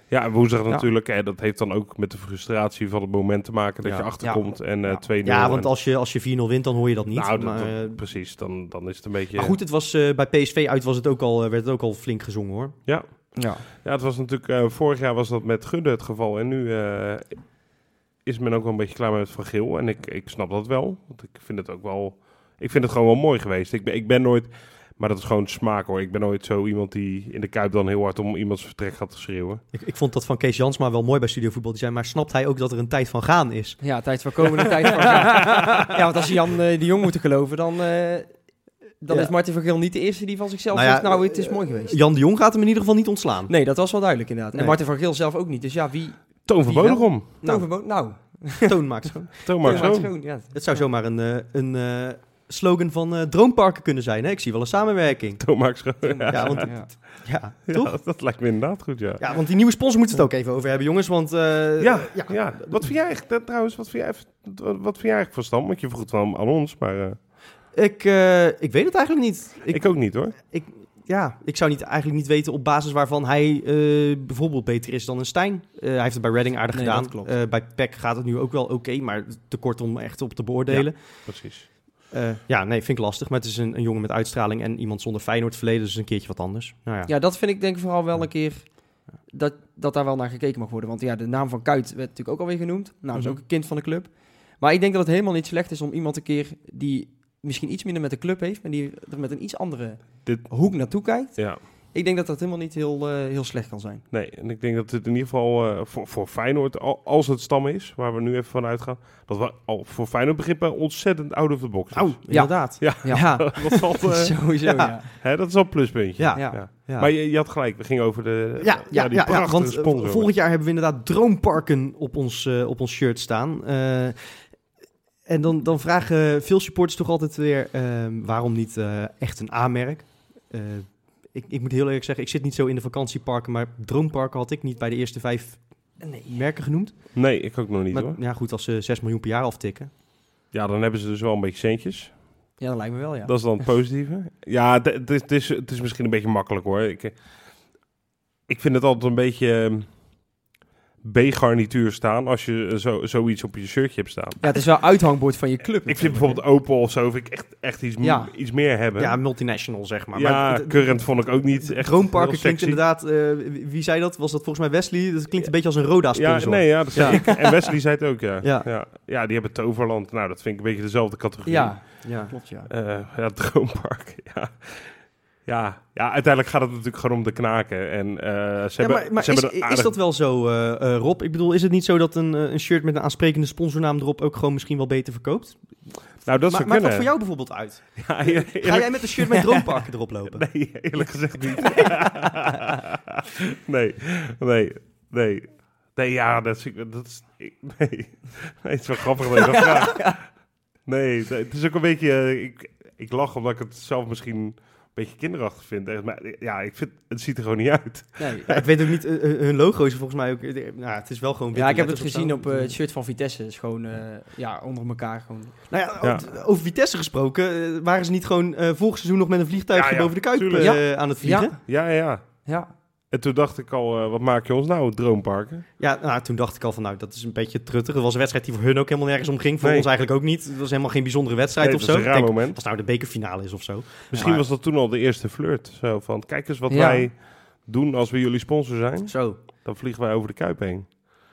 Speaker 1: Ja, en woensdag
Speaker 3: Ja.
Speaker 1: natuurlijk. Hè, dat heeft dan ook met de frustratie van het moment te maken dat
Speaker 2: Ja.
Speaker 1: je achterkomt en eh
Speaker 3: Ja.
Speaker 1: 2-0.
Speaker 2: Ja, want
Speaker 1: en-
Speaker 2: als je, als je 4-0 wint, dan hoor je dat niet.
Speaker 1: Nou, dat-
Speaker 2: maar, eh,
Speaker 1: dat- precies. Dan, dan is het een beetje...
Speaker 2: maar goed, het was, eh, bij PSV uit was het ook al, eh, werd het ook al flink gezongen hoor.
Speaker 3: ja.
Speaker 1: Ja, het was natuurlijk... eh, vorig jaar was dat met Gudde het geval. En nu eh, is men ook wel een beetje klaar met Van Geel. En ik, ik snap dat wel. Want ik vind het ook wel... Ik vind het gewoon wel mooi geweest. Ik ben, ik ben nooit... Maar dat is gewoon smaak hoor. Ik ben nooit zo iemand die in de Kuip dan heel hard om iemands vertrek gaat te schreeuwen.
Speaker 2: Ik, ik vond dat van Kees Jansma wel mooi bij Studio Voetbal. Die zei, maar snapt hij ook dat er een tijd van gaan is?
Speaker 3: ja, tijd van komende tijd van. Ja. Ja, want als je Jan eh, de Jong moet geloven, dan, eh, dan
Speaker 2: Ja.
Speaker 3: is Martin van Geel niet de eerste die van zichzelf
Speaker 2: Nou ja,
Speaker 3: zegt: Nou, het is mooi geweest.
Speaker 2: Jan de Jong gaat hem in ieder geval niet ontslaan.
Speaker 3: Nee, dat was wel duidelijk inderdaad.
Speaker 2: Nee.
Speaker 3: En Martin van Geel zelf ook niet. Dus ja, wie.
Speaker 1: Toon van
Speaker 3: Wie wel?
Speaker 1: Bodegom.
Speaker 2: Nou.
Speaker 3: Nou, nou
Speaker 2: Toon maakt het gewoon.
Speaker 1: Toon maar
Speaker 3: Ja, maar
Speaker 1: zo.
Speaker 3: het is gewoon, ja.
Speaker 2: Het zou zomaar een, eh, een eh, slogan van eh, droomparken kunnen zijn. Hè? Ik zie wel een samenwerking.
Speaker 1: Toon maakt schoon.
Speaker 2: Ja, want- Ja, toch?
Speaker 1: Ja, dat lijkt me inderdaad goed, ja.
Speaker 2: Ja, want die nieuwe sponsor moeten we het ook even over hebben, jongens. Want eh,
Speaker 1: Ja, ja. Wat vind jij eigenlijk, eh, trouwens, wat vind jij, even- wat vind jij eigenlijk van Stam? Want je vroeg het wel aan ons, maar eh,
Speaker 2: ik, eh, ik weet het eigenlijk niet.
Speaker 1: ik,
Speaker 2: Ik,
Speaker 1: ook niet hoor.
Speaker 2: ja, ik zou niet, eigenlijk niet weten op basis waarvan hij eh, bijvoorbeeld beter is dan een Stijn. Eh, hij heeft het bij Redding aardig
Speaker 3: Nee,
Speaker 2: gedaan.
Speaker 3: dat klopt.
Speaker 2: Eh, bij PEC gaat het nu ook wel oké, maar te kort om echt op te beoordelen.
Speaker 1: Precies.
Speaker 2: Ja, ja nee, vind ik lastig. Maar het is een, een jongen met uitstraling en iemand zonder Feyenoord verleden. Dus een keertje wat anders. Nou ja.
Speaker 3: Ja, dat vind ik denk ik vooral wel een keer dat, dat daar wel naar gekeken mag worden. Want ja, de naam van Kuit werd natuurlijk ook alweer genoemd. Nou, dat is
Speaker 2: Mhm.
Speaker 3: ook een kind van de club. Maar ik denk dat het helemaal niet slecht is om iemand een keer die misschien iets minder met de club heeft, maar die er met een iets andere
Speaker 1: Dit-
Speaker 3: hoek naartoe kijkt.
Speaker 1: Ja,
Speaker 3: Ik denk dat dat helemaal niet heel, eh, heel slecht kan zijn.
Speaker 1: nee. En ik denk dat het in ieder geval eh, voor, voor Feyenoord, al- als het Stam is, waar we nu even van uitgaan, dat we al voor Feyenoord begrippen ontzettend out of the box is.
Speaker 2: Nou, inderdaad.
Speaker 1: Ja.
Speaker 3: Ja,
Speaker 1: dat, valt, eh,
Speaker 3: sowieso.
Speaker 2: ja.
Speaker 3: Ja. Ja.
Speaker 1: hè, dat is al een pluspuntje.
Speaker 2: Ja.
Speaker 3: Ja.
Speaker 2: Ja. Eh,
Speaker 1: Maar je, je had gelijk, we gingen over de
Speaker 2: Ja, ja,
Speaker 1: die
Speaker 2: ja, ja,
Speaker 1: prachtige
Speaker 2: want eh,
Speaker 1: sponsor.
Speaker 2: volgend jaar hebben we inderdaad droomparken op ons, eh, op ons shirt staan. Eh, en dan, dan vragen veel supporters toch altijd weer ehm, waarom niet eh, echt een A-merk? Eh, ik, ik moet heel eerlijk zeggen, ik zit niet zo in de vakantieparken, maar droomparken had ik niet bij de eerste vijf eh,
Speaker 3: Nee.
Speaker 2: merken genoemd.
Speaker 1: Nee, ik ook nog niet
Speaker 2: maar
Speaker 1: hoor.
Speaker 2: ja, goed, als ze 6 miljoen per jaar aftikken.
Speaker 1: Ja, dan hebben ze dus wel een beetje centjes.
Speaker 3: ja, dat lijkt me wel, ja.
Speaker 1: Dat is dan het positieve. Ja, het- het is, het, is, het is misschien een beetje makkelijk hoor. Ik, eh, ik vind het altijd een beetje ehm, B-garnituur staan als je eh, zo, zoiets op je shirtje hebt staan.
Speaker 3: Ja, het is wel uithangbord van je club.
Speaker 1: Ik vind bijvoorbeeld Opel of zo, vind ik echt, echt iets, m-
Speaker 3: Ja.
Speaker 1: iets meer hebben.
Speaker 2: Ja, multinational zeg maar.
Speaker 1: ja,
Speaker 2: maar het-
Speaker 1: Current vond ik ook niet echt
Speaker 2: droomparken
Speaker 1: heel
Speaker 2: klinkt
Speaker 1: sexy.
Speaker 2: inderdaad, eh, wie- wie zei dat? Was dat volgens mij Wesley? Dat klinkt een beetje als een Roda-sponsor.
Speaker 1: Ja, nee, ja, dat zei
Speaker 2: Ja.
Speaker 1: ik. En Wesley zei het ook, ja.
Speaker 2: Ja.
Speaker 1: Ja. ja. die hebben Toverland. Nou, dat vind ik een beetje dezelfde categorie.
Speaker 3: Ja,
Speaker 2: ja.
Speaker 3: klopt, ja.
Speaker 1: Eh, ja, Droompark, ja. Ja, ja, uiteindelijk gaat het natuurlijk gewoon om de knaken. En eh, ze
Speaker 2: Ja,
Speaker 1: hebben,
Speaker 2: maar, maar
Speaker 1: ze
Speaker 2: is,
Speaker 1: hebben een
Speaker 2: is
Speaker 1: aardig-
Speaker 2: dat wel zo, eh, eh, Rob? Ik bedoel, is het niet zo dat een, eh, een shirt met een aansprekende sponsornaam erop ook gewoon misschien wel beter verkoopt?
Speaker 1: Nou, dat zou
Speaker 2: maar maakt dat
Speaker 1: kunnen.
Speaker 2: voor jou bijvoorbeeld uit?
Speaker 1: Ja, eer- eerlijk,
Speaker 2: Ga jij met een shirt met droomparken erop lopen?
Speaker 1: Nee, eerlijk gezegd niet. nee, nee, nee. Nee, ja, dat is... Dat is ik- nee. nee, het is wel grappig dat je dat vraagt. Nee, nee, het is ook een beetje... eh, Ik, Ik lach omdat ik het zelf misschien een beetje kinderachtig vind. Echt, Maar eh, ja, ik vind, het ziet er gewoon niet uit.
Speaker 3: Nee.
Speaker 2: Ja, ik weet ook niet, eh, eh, hun logo is volgens mij ook... eh, eh, nou, het is wel gewoon
Speaker 3: Ja, ik heb het
Speaker 2: letters of
Speaker 3: gezien
Speaker 2: zo.
Speaker 3: op eh, het shirt van Vitesse. is gewoon eh, ja, onder elkaar. Gewoon.
Speaker 2: Nou ja,
Speaker 1: Ja.
Speaker 2: over- over Vitesse gesproken, eh, waren ze niet gewoon eh, vorig seizoen nog met een vliegtuigje
Speaker 1: Ja, ja,
Speaker 2: boven de Kuip
Speaker 1: tuurlijk.
Speaker 2: eh,
Speaker 3: Ja.
Speaker 2: aan het vliegen? Ja,
Speaker 1: Ja, ja, ja.
Speaker 3: Ja.
Speaker 1: En toen dacht ik al, eh, wat maak je ons nou, droomparken?
Speaker 2: nou, toen dacht ik al van, nou, dat is een beetje truttig. Het was een wedstrijd die voor hun ook helemaal nergens om ging, voor
Speaker 1: Nee.
Speaker 2: ons eigenlijk ook niet. Het was helemaal geen bijzondere wedstrijd
Speaker 1: Nee,
Speaker 2: of
Speaker 1: dat
Speaker 2: zo.
Speaker 1: is
Speaker 2: Ik
Speaker 1: een raar
Speaker 2: denk,
Speaker 1: moment.
Speaker 2: als het nou de bekerfinale is of zo.
Speaker 1: Misschien
Speaker 2: maar-
Speaker 1: was dat toen al de eerste flirt. Zo van, kijk eens wat
Speaker 3: Ja.
Speaker 1: wij doen als we jullie sponsor zijn.
Speaker 2: Zo,
Speaker 1: Dan vliegen wij over de Kuip heen.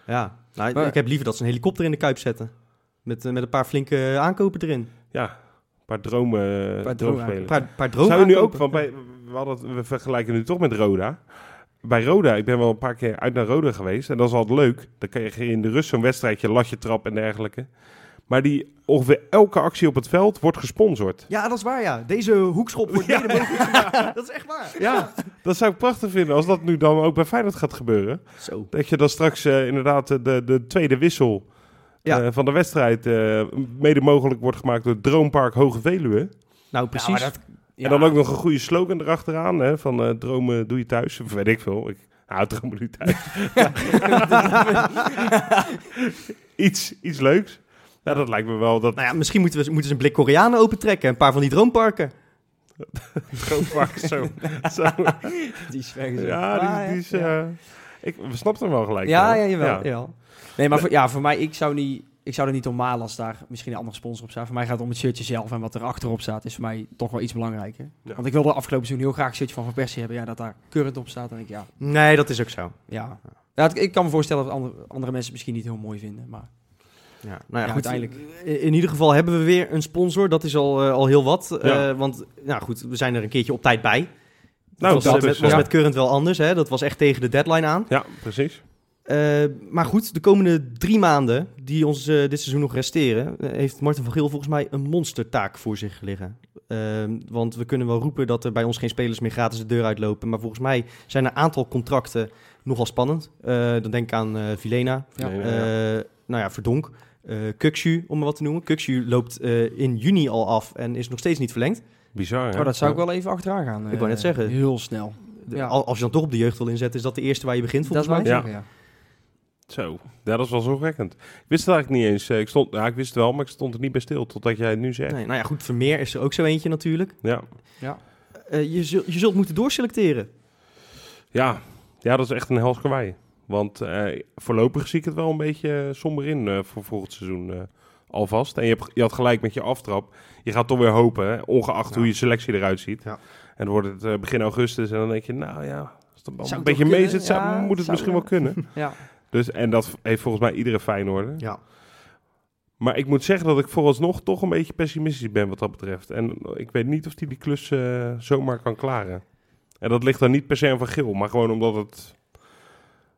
Speaker 2: ja. Nou,
Speaker 3: Maar-
Speaker 2: ik heb liever dat ze een helikopter in de Kuip zetten. Met, eh, met een paar flinke aankopen erin.
Speaker 1: Ja, een paar dromen, eh,
Speaker 3: paar
Speaker 2: Een
Speaker 1: droomspelen.
Speaker 2: paar, een paar dromen
Speaker 1: Zou je nu ook,
Speaker 2: aankopen.
Speaker 1: want bij, we, hadden, het- we vergelijken nu toch met Roda. Bij Roda, ik ben wel een paar keer uit naar Roda geweest. En dat is altijd leuk. Dan kan je in de rust zo'n wedstrijdje, latje trap en dergelijke. Maar die, ongeveer elke actie op het veld wordt gesponsord.
Speaker 2: Ja, dat is waar, ja. Deze hoekschop wordt mede mogelijk gemaakt. Dat is echt waar.
Speaker 1: Ja, dat zou ik prachtig vinden als dat nu dan ook bij Feyenoord gaat gebeuren.
Speaker 2: Zo.
Speaker 1: Dat je dan straks eh, inderdaad eh, de, de tweede wissel
Speaker 2: Ja.
Speaker 1: eh, van de wedstrijd eh, mede mogelijk wordt gemaakt door Droompark Hoge Veluwe.
Speaker 2: Nou,
Speaker 3: Ja,
Speaker 2: precies.
Speaker 3: maar dat- ja.
Speaker 1: En dan ook nog een goede slogan erachteraan hè, van eh, dromen doe je thuis. Of weet ik veel. Ik, nou, dromen doe je thuis. iets, iets leuks. Nou, dat lijkt me wel dat
Speaker 2: Nou ja, misschien moeten we moeten ze een blik Koreanen opentrekken. Een paar van die droomparken.
Speaker 1: Droompark zo... zo
Speaker 3: Die is weg.
Speaker 1: ja,
Speaker 3: Ah,
Speaker 1: die, die is...
Speaker 3: ja.
Speaker 1: eh, ik snap hem wel gelijk.
Speaker 3: Ja,
Speaker 1: wel.
Speaker 3: ja, jawel. jawel. Nee, maar voor, ja, voor mij, ik zou, niet, ik zou er niet om malen als daar misschien een andere sponsor op staat. Voor mij gaat het om het shirtje zelf en wat er achterop staat is voor mij toch wel iets belangrijker.
Speaker 1: Ja.
Speaker 3: Want ik wilde afgelopen seizoen heel graag een shirtje van Van Persie hebben. Ja, dat daar current op staat. En ik, ja,
Speaker 2: Nee, dat is ook zo.
Speaker 3: ja. ja het- ik kan me voorstellen dat andere, andere mensen het misschien niet heel mooi vinden. Maar
Speaker 2: Ja, nou
Speaker 3: Ja,
Speaker 2: ja, goed,
Speaker 3: uiteindelijk.
Speaker 2: In, in ieder geval hebben we weer een sponsor. Dat is al, eh, al heel wat.
Speaker 1: Ja.
Speaker 2: Eh, want, nou goed, we zijn er een keertje op tijd bij.
Speaker 1: Nou,
Speaker 2: was,
Speaker 1: dat
Speaker 2: eh, met,
Speaker 1: is,
Speaker 2: was
Speaker 1: ja.
Speaker 2: met Current wel anders. Hè? Dat was echt tegen de deadline aan.
Speaker 1: Ja, precies.
Speaker 2: Eh, maar goed, de komende drie maanden die ons eh, dit seizoen nog resteren, eh, heeft Martin van Geel volgens mij een monstertaak voor zich liggen. Ehm, want we kunnen wel roepen dat er bij ons geen spelers meer gratis de deur uitlopen. Maar volgens mij zijn een aantal contracten nogal spannend. Eh, dan denk ik aan eh Vilena,
Speaker 3: Ja.
Speaker 1: Nee, nee, ja.
Speaker 2: eh, nou ja, Verdonk, eh Kukshu, om maar wat te noemen. Kukshu loopt eh, in juni al af en is nog steeds niet verlengd.
Speaker 1: Bizar, hè?
Speaker 3: oh, dat zou ik wel even achteraan gaan.
Speaker 2: Ik wou net
Speaker 3: eh,
Speaker 2: zeggen.
Speaker 3: Heel snel.
Speaker 2: De-
Speaker 3: Ja.
Speaker 2: al- Als je dan toch op de jeugd wil inzetten, is dat de eerste waar je begint
Speaker 3: Dat
Speaker 2: volgens
Speaker 3: wou
Speaker 2: mij.
Speaker 3: ik
Speaker 1: Ja.
Speaker 3: zeggen, ja.
Speaker 1: Zo, ja, dat is wel zorgwekkend. Ik wist het eigenlijk niet eens. Eh, Ik, stond, ja, ik wist het wel, maar ik stond er niet bij stil totdat jij het nu zegt.
Speaker 2: Nee, nou ja, goed, Vermeer is er ook zo eentje natuurlijk.
Speaker 1: Ja.
Speaker 2: Eh, je, zult, je zult moeten doorselecteren.
Speaker 1: Ja. ja, dat is echt een hels kwaai. Want eh, voorlopig zie ik het wel een beetje eh, somber in eh, voor volgend seizoen eh, alvast. En je, hebt, je had gelijk met je aftrap. Je gaat toch weer hopen, hè, ongeacht
Speaker 2: Ja.
Speaker 1: hoe je selectie eruit ziet.
Speaker 2: Ja.
Speaker 1: En dan wordt het eh, begin augustus en dan denk je, nou ja, als het
Speaker 3: Zou
Speaker 1: een
Speaker 3: het
Speaker 1: beetje
Speaker 3: toch
Speaker 1: mee
Speaker 3: kunnen?
Speaker 1: zit, zou-
Speaker 3: Ja,
Speaker 1: moet het
Speaker 3: zou-
Speaker 1: misschien wel kunnen.
Speaker 3: Ja.
Speaker 1: Dus, en dat heeft volgens mij iedere Feyenoorder.
Speaker 2: Ja.
Speaker 1: Maar ik moet zeggen dat ik vooralsnog toch een beetje pessimistisch ben wat dat betreft. En ik weet niet of hij die klus eh, zomaar kan klaren. En dat ligt dan niet per se aan Van Geel, maar gewoon omdat het...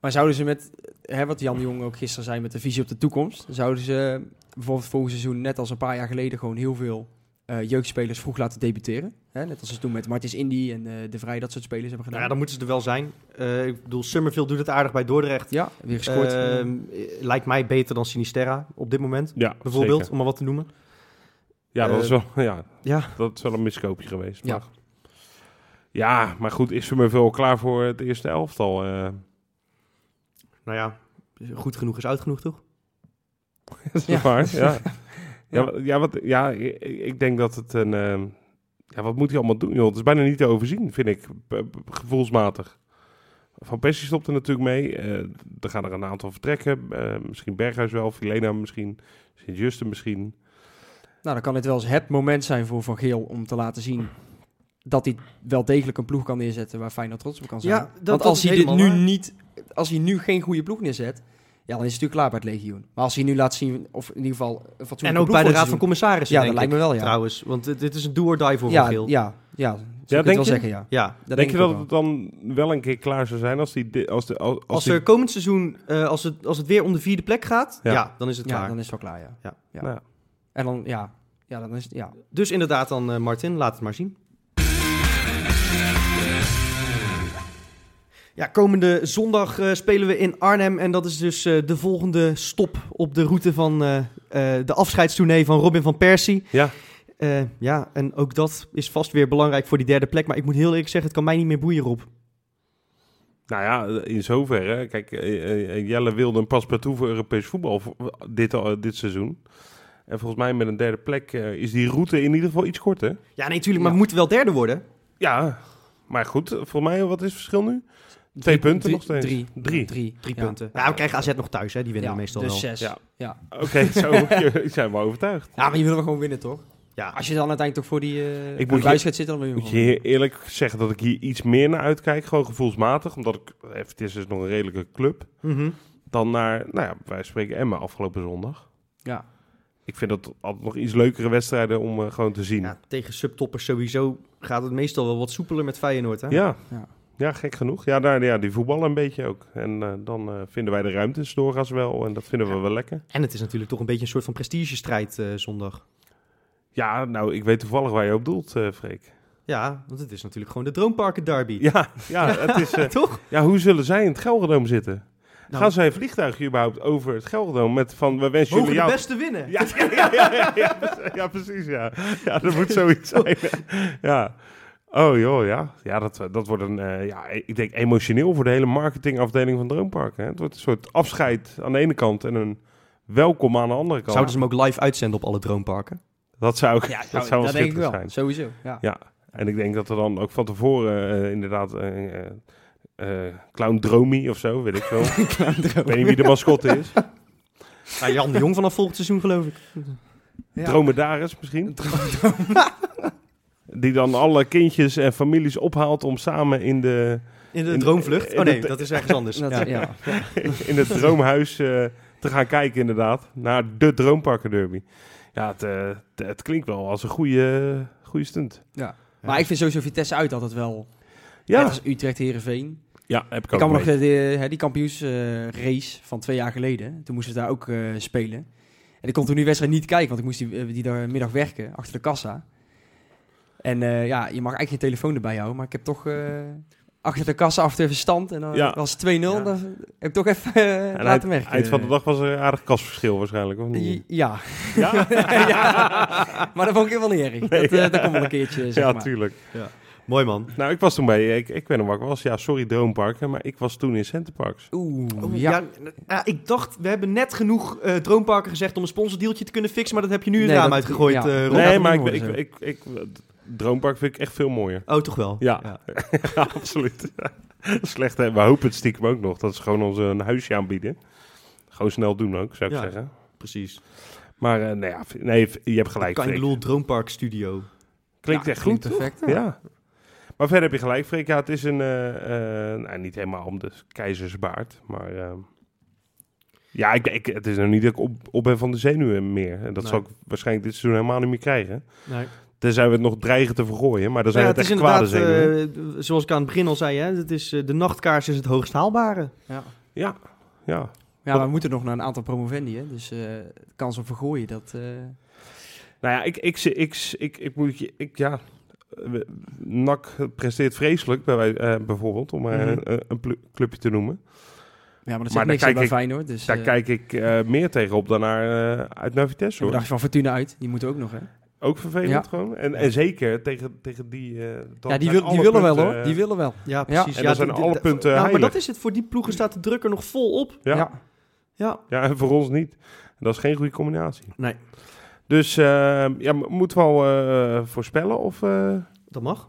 Speaker 3: Maar zouden ze met, hè, wat Jan de Jong ook gisteren zei met de visie op de toekomst, zouden ze bijvoorbeeld volgend seizoen, net als een paar jaar geleden, gewoon heel veel eh, jeugdspelers vroeg laten debuteren? Hè? Net als ze toen met Martins Indy en eh, De Vrij dat soort spelers hebben
Speaker 2: Nou
Speaker 3: gedaan.
Speaker 2: ja, dan moeten ze er wel zijn. Eh, ik bedoel, Summerfield doet het aardig bij Dordrecht.
Speaker 3: Ja, weer gescoord.
Speaker 2: Ehm, eh, lijkt mij beter dan Sinisterra op dit moment,
Speaker 1: Ja,
Speaker 2: bijvoorbeeld,
Speaker 1: zeker.
Speaker 2: om maar wat te noemen.
Speaker 1: Ja, dat
Speaker 2: Eh,
Speaker 1: is wel, ja,
Speaker 2: Ja,
Speaker 1: dat is wel een miskoopje geweest.
Speaker 3: Ja.
Speaker 1: Maar, ja, maar goed, is Summerville al klaar voor het eerste elftal? eh?
Speaker 2: nou ja, goed genoeg is oud genoeg, toch?
Speaker 1: is
Speaker 3: Ja.
Speaker 1: dat waar? Ja. Ja, wa- ja, wat, ja, i- i- ik denk dat het een... eh, ja, wat moet hij allemaal doen, joh? Het is bijna niet te overzien, vind ik, p- p- gevoelsmatig. Van Persie stopt er natuurlijk mee. eh, er gaan er een aantal vertrekken. eh, misschien Berghuis wel, Filena misschien, Sint-Justen misschien.
Speaker 3: Nou, dan kan dit wel eens het moment zijn voor Van Geel om te laten zien dat hij wel degelijk een ploeg kan neerzetten waar Feyenoord trots op kan zijn.
Speaker 2: Ja, dat-
Speaker 3: Want
Speaker 2: dat
Speaker 3: als
Speaker 2: is
Speaker 3: hij dit nu
Speaker 2: helemaal waar.
Speaker 3: niet, als hij nu geen goede ploeg neerzet, ja, dan is het natuurlijk klaar bij het legioen. Maar als hij nu laat zien, of in ieder geval een fatsoenlijke
Speaker 2: En ook bij
Speaker 3: ploeg
Speaker 2: de
Speaker 3: voor het
Speaker 2: Raad
Speaker 3: seizoen-
Speaker 2: van Commissarissen,
Speaker 3: Ja,
Speaker 2: denk
Speaker 3: dat lijkt
Speaker 2: ik,
Speaker 3: me wel, ja.
Speaker 2: trouwens. Want dit, dit is een do or die voor
Speaker 3: ja,
Speaker 2: Van Geel.
Speaker 3: Ja, ja.
Speaker 1: denk
Speaker 3: denk ik wel
Speaker 1: je?
Speaker 3: zeggen, ja.
Speaker 2: Ja.
Speaker 3: Dat
Speaker 1: denk je
Speaker 3: ik
Speaker 1: dat
Speaker 3: ook
Speaker 1: het dan wel een keer klaar zou zijn als, die, di- als, de, als, als
Speaker 2: Als
Speaker 1: die-
Speaker 2: er komend seizoen, eh, als, het, als het weer om de vierde plek gaat,
Speaker 1: Ja.
Speaker 2: ja, dan is het
Speaker 3: wel. Ja,
Speaker 2: klaar.
Speaker 3: dan is het wel klaar, ja.
Speaker 2: Ja.
Speaker 3: ja.
Speaker 1: Nou.
Speaker 3: En dan, ja. Ja, dan is het, ja.
Speaker 2: Dus inderdaad dan, eh, Martin, laat het maar zien. Ja, komende zondag eh, spelen we in Arnhem. En dat is dus eh, de volgende stop op de route van eh, eh, de afscheidstournee van Robin van Persie.
Speaker 1: Ja.
Speaker 2: Eh, ja, en ook dat is vast weer belangrijk voor die derde plek. Maar ik moet heel eerlijk zeggen, het kan mij niet meer boeien, Rob.
Speaker 1: Nou ja, in zoverre. Kijk, eh, eh, Jelle wilde een paspartout voor Europees voetbal voor- dit, al- dit seizoen. En volgens mij met een derde plek eh, is die route in ieder geval iets korter.
Speaker 2: Ja, nee, tuurlijk, maar
Speaker 3: Ja.
Speaker 2: we moeten wel derde worden.
Speaker 1: Ja, maar goed. Volgens mij, wat is het verschil nu? Twee punten
Speaker 3: Drie-
Speaker 1: nog steeds.
Speaker 3: Drie.
Speaker 1: Drie.
Speaker 3: Drie,
Speaker 2: Drie
Speaker 3: ja.
Speaker 2: punten. Nou, we krijgen AZ nog thuis, hè. Die winnen
Speaker 3: Ja,
Speaker 2: we meestal
Speaker 3: dus
Speaker 2: wel.
Speaker 3: zes.
Speaker 1: Ja.
Speaker 3: Ja.
Speaker 1: Oké, zo je- zijn we overtuigd.
Speaker 3: Ja, maar je wil wel gewoon winnen, toch?
Speaker 2: Ja.
Speaker 3: Als je dan uiteindelijk toch voor die, eh
Speaker 1: moet
Speaker 3: voor die
Speaker 1: je-
Speaker 3: buis gaat zitten, dan wil je
Speaker 1: Moet
Speaker 3: hem
Speaker 1: je
Speaker 3: gewoon.
Speaker 1: heel eerlijk zeggen dat ik hier iets meer naar uitkijk, gewoon gevoelsmatig. Omdat ik, eh, het is dus nog een redelijke club.
Speaker 2: Mhm.
Speaker 1: Dan naar, nou ja, wij spreken Emma afgelopen zondag.
Speaker 3: Ja.
Speaker 1: Ik vind dat altijd nog iets leukere wedstrijden om eh, gewoon te zien. Ja.
Speaker 2: Ja, tegen subtoppers sowieso gaat het meestal wel wat soepeler met Feyenoord, hè.
Speaker 1: Ja.
Speaker 3: Ja.
Speaker 1: gek genoeg. Ja, daar, ja, die voetballen een beetje ook. En eh, dan eh, vinden wij de ruimtes doorgaans wel. En dat vinden we wel lekker.
Speaker 2: En het is natuurlijk toch een beetje een soort van prestigestrijd eh, zondag.
Speaker 1: Ja, nou, ik weet toevallig waar je op doelt, eh, Freek.
Speaker 2: Ja, want het is natuurlijk gewoon de Droomparken derby.
Speaker 1: Ja, ja, het is, eh,
Speaker 2: Toch?
Speaker 1: ja, hoe zullen zij in het Gelredome zitten?
Speaker 2: Nou,
Speaker 1: Gaan zij een vliegtuigje überhaupt over het Gelredome met van we wensen
Speaker 2: mogen
Speaker 1: jullie
Speaker 2: de
Speaker 1: jou...
Speaker 2: beste winnen.
Speaker 1: Ja, ja, ja, ja, ja, ja, precies, ja, precies, ja. Ja, dat moet zoiets zijn. Ja. Oh joh, ja. Ja, dat, dat wordt een, eh, ja, ik denk emotioneel voor de hele marketingafdeling van Droompark. Hè. Het wordt een soort afscheid aan de ene kant en een welkom aan de andere kant.
Speaker 2: Zouden ze hem ook live uitzenden op alle Droomparken?
Speaker 1: Dat zou ik,
Speaker 3: Ja,
Speaker 1: dat zou wel
Speaker 3: dat denk ik
Speaker 1: schitterend
Speaker 3: wel.
Speaker 1: zijn.
Speaker 3: Sowieso. Ja.
Speaker 1: Ja. En ik denk dat er dan ook van tevoren eh, inderdaad eh, eh, eh, Clown Dromy of zo, weet ik veel. Ik weet niet wie de mascotte is.
Speaker 2: Nou, Jan de Jong vanaf volgend seizoen, geloof ik.
Speaker 3: Ja.
Speaker 1: Dromedaris misschien. Die dan alle kindjes en families ophaalt om samen in, de,
Speaker 2: In de
Speaker 1: In-
Speaker 2: droomvlucht?
Speaker 1: in
Speaker 2: Oh
Speaker 1: de-
Speaker 2: nee, dat is ergens anders.
Speaker 3: Dat-
Speaker 2: Ja.
Speaker 3: ja.
Speaker 1: in het droomhuis eh, te gaan kijken inderdaad. Naar de Droomparken Derby. Ja, het, eh, het- het klinkt wel als een goede, goede stunt.
Speaker 3: Maar ik vind sowieso Vitesse uit altijd wel. Ja.
Speaker 1: Ja,
Speaker 3: Net als Utrecht, Herenveen.
Speaker 1: ja heb ik
Speaker 3: Ik
Speaker 1: ook
Speaker 3: kan me nog
Speaker 1: mee.
Speaker 3: de, de- hè, die kampioensrace van twee jaar geleden. Toen moesten we daar ook eh, spelen. En ik kon toen die wedstrijd niet kijken, want ik moest die, eh, die daar middag werken achter de kassa. En eh, ja, je mag eigenlijk geen telefoon erbij houden, maar ik heb toch eh, achter de kassa achter de verstand. En dan
Speaker 1: Ja.
Speaker 3: was het 2-0.
Speaker 2: Ja.
Speaker 3: Dan heb ik toch even eh,
Speaker 1: En
Speaker 3: laten
Speaker 1: eind,
Speaker 3: merken.
Speaker 1: eind van de dag was er een aardig kasverschil waarschijnlijk, of niet?
Speaker 3: Ja.
Speaker 1: Ja,
Speaker 3: ja, maar dat vond ik helemaal niet erg. dat, eh, dat komt wel een keertje, zeg
Speaker 1: ja
Speaker 3: maar.
Speaker 1: tuurlijk.
Speaker 2: Mooi man.
Speaker 1: Nou, ik was toen bij, ik, ik weet nog waar ik was. Ja, sorry Droomparken, maar ik was toen in Centerparks.
Speaker 3: Oeh,
Speaker 2: Oh,
Speaker 3: ja.
Speaker 2: ja. ja, ik dacht, we hebben net genoeg eh, droomparken gezegd om een sponsordeeltje te kunnen fixen, maar dat heb je nu het
Speaker 3: Nee,
Speaker 2: raam
Speaker 3: dat-
Speaker 2: uitgegooid,
Speaker 3: ja.
Speaker 2: eh, Rob.
Speaker 3: Nee.
Speaker 1: Nee,
Speaker 3: dat
Speaker 1: maar ik,
Speaker 3: moet
Speaker 1: ik,
Speaker 3: worden
Speaker 1: ik, ik- Droompark vind ik echt veel mooier.
Speaker 2: Oh, toch wel?
Speaker 1: Ja. Ja, absoluut. Slecht, hè? We hopen het stiekem ook nog. Dat ze gewoon ons een huisje aanbieden. Gewoon snel doen ook, zou ik
Speaker 2: Ja.
Speaker 1: zeggen.
Speaker 2: precies.
Speaker 1: Maar eh, nee, ja, v- nee, v- je hebt gelijk.
Speaker 2: Kan je
Speaker 1: Freek.
Speaker 2: lul Droompark Studio.
Speaker 1: Klinkt
Speaker 3: Ja,
Speaker 1: echt
Speaker 3: klinkt
Speaker 1: goed,
Speaker 3: perfect,
Speaker 1: toch?
Speaker 3: ja.
Speaker 1: Ja. Maar verder heb je gelijk, Freek. Ja, het is een... eh, eh, nou, niet helemaal om de keizersbaard, maar... eh, ja, ik, ik, het is nog niet dat ik op, op ben van de zenuwen meer. En dat
Speaker 2: Nee.
Speaker 1: zal ik waarschijnlijk dit seizoen helemaal niet meer krijgen.
Speaker 2: Nee.
Speaker 1: Tenzij we het nog dreigen te vergooien, maar dan zijn
Speaker 2: Nou ja,
Speaker 1: het,
Speaker 2: het is
Speaker 1: echt kwade
Speaker 2: inderdaad,
Speaker 1: zenuwen.
Speaker 2: eh, zoals ik aan het begin al zei, hè, het is, eh, de nachtkaars is het hoogst haalbare.
Speaker 3: Ja.
Speaker 1: Ja, ja.
Speaker 3: Ja, maar we moeten nog naar een aantal promovendi, hè. Dus eh, de kans op vergooien, dat... eh,
Speaker 1: Nou ja, ik, ik, ik, ik, ik, ik moet je, ik, ja. eh, we- NAC presteert vreselijk, bij wij, eh, bijvoorbeeld, om maar
Speaker 2: Mhm.
Speaker 1: een, een- een plu- clubje te noemen.
Speaker 3: Ja, maar dat
Speaker 1: Maar
Speaker 3: zegt niks
Speaker 1: daar
Speaker 3: aan
Speaker 1: kijk
Speaker 3: bij
Speaker 1: ik-
Speaker 3: Feyenoord. Dus,
Speaker 1: Daar
Speaker 3: eh,
Speaker 1: kijk ik eh, meer tegen op dan naar, eh, uit naar Vitesse,
Speaker 3: en we
Speaker 1: hoor.
Speaker 3: dachten van Fortuna uit. Die moeten ook nog, hè?
Speaker 1: Ook vervelend
Speaker 3: Ja.
Speaker 1: gewoon. En, en zeker tegen, tegen die... eh, dat
Speaker 3: ja, die,
Speaker 1: zijn
Speaker 3: wil, die
Speaker 1: alle
Speaker 3: willen wel,
Speaker 1: punten,
Speaker 3: hoor.
Speaker 1: eh,
Speaker 3: Die willen wel.
Speaker 2: Ja, precies.
Speaker 1: En
Speaker 2: Ja,
Speaker 1: dan zijn
Speaker 2: dit- dit-
Speaker 1: alle punten
Speaker 2: nou, maar
Speaker 1: heilig.
Speaker 2: dat is het. Voor die ploegen staat de druk er nog vol op.
Speaker 1: eh, Ja.
Speaker 3: Ja.
Speaker 2: Ja.
Speaker 1: Ja, en voor ons niet. En dat is geen goede combinatie.
Speaker 2: Nee.
Speaker 1: Dus eh, ja, m- moeten we al eh, voorspellen of... eh,
Speaker 2: Dat mag.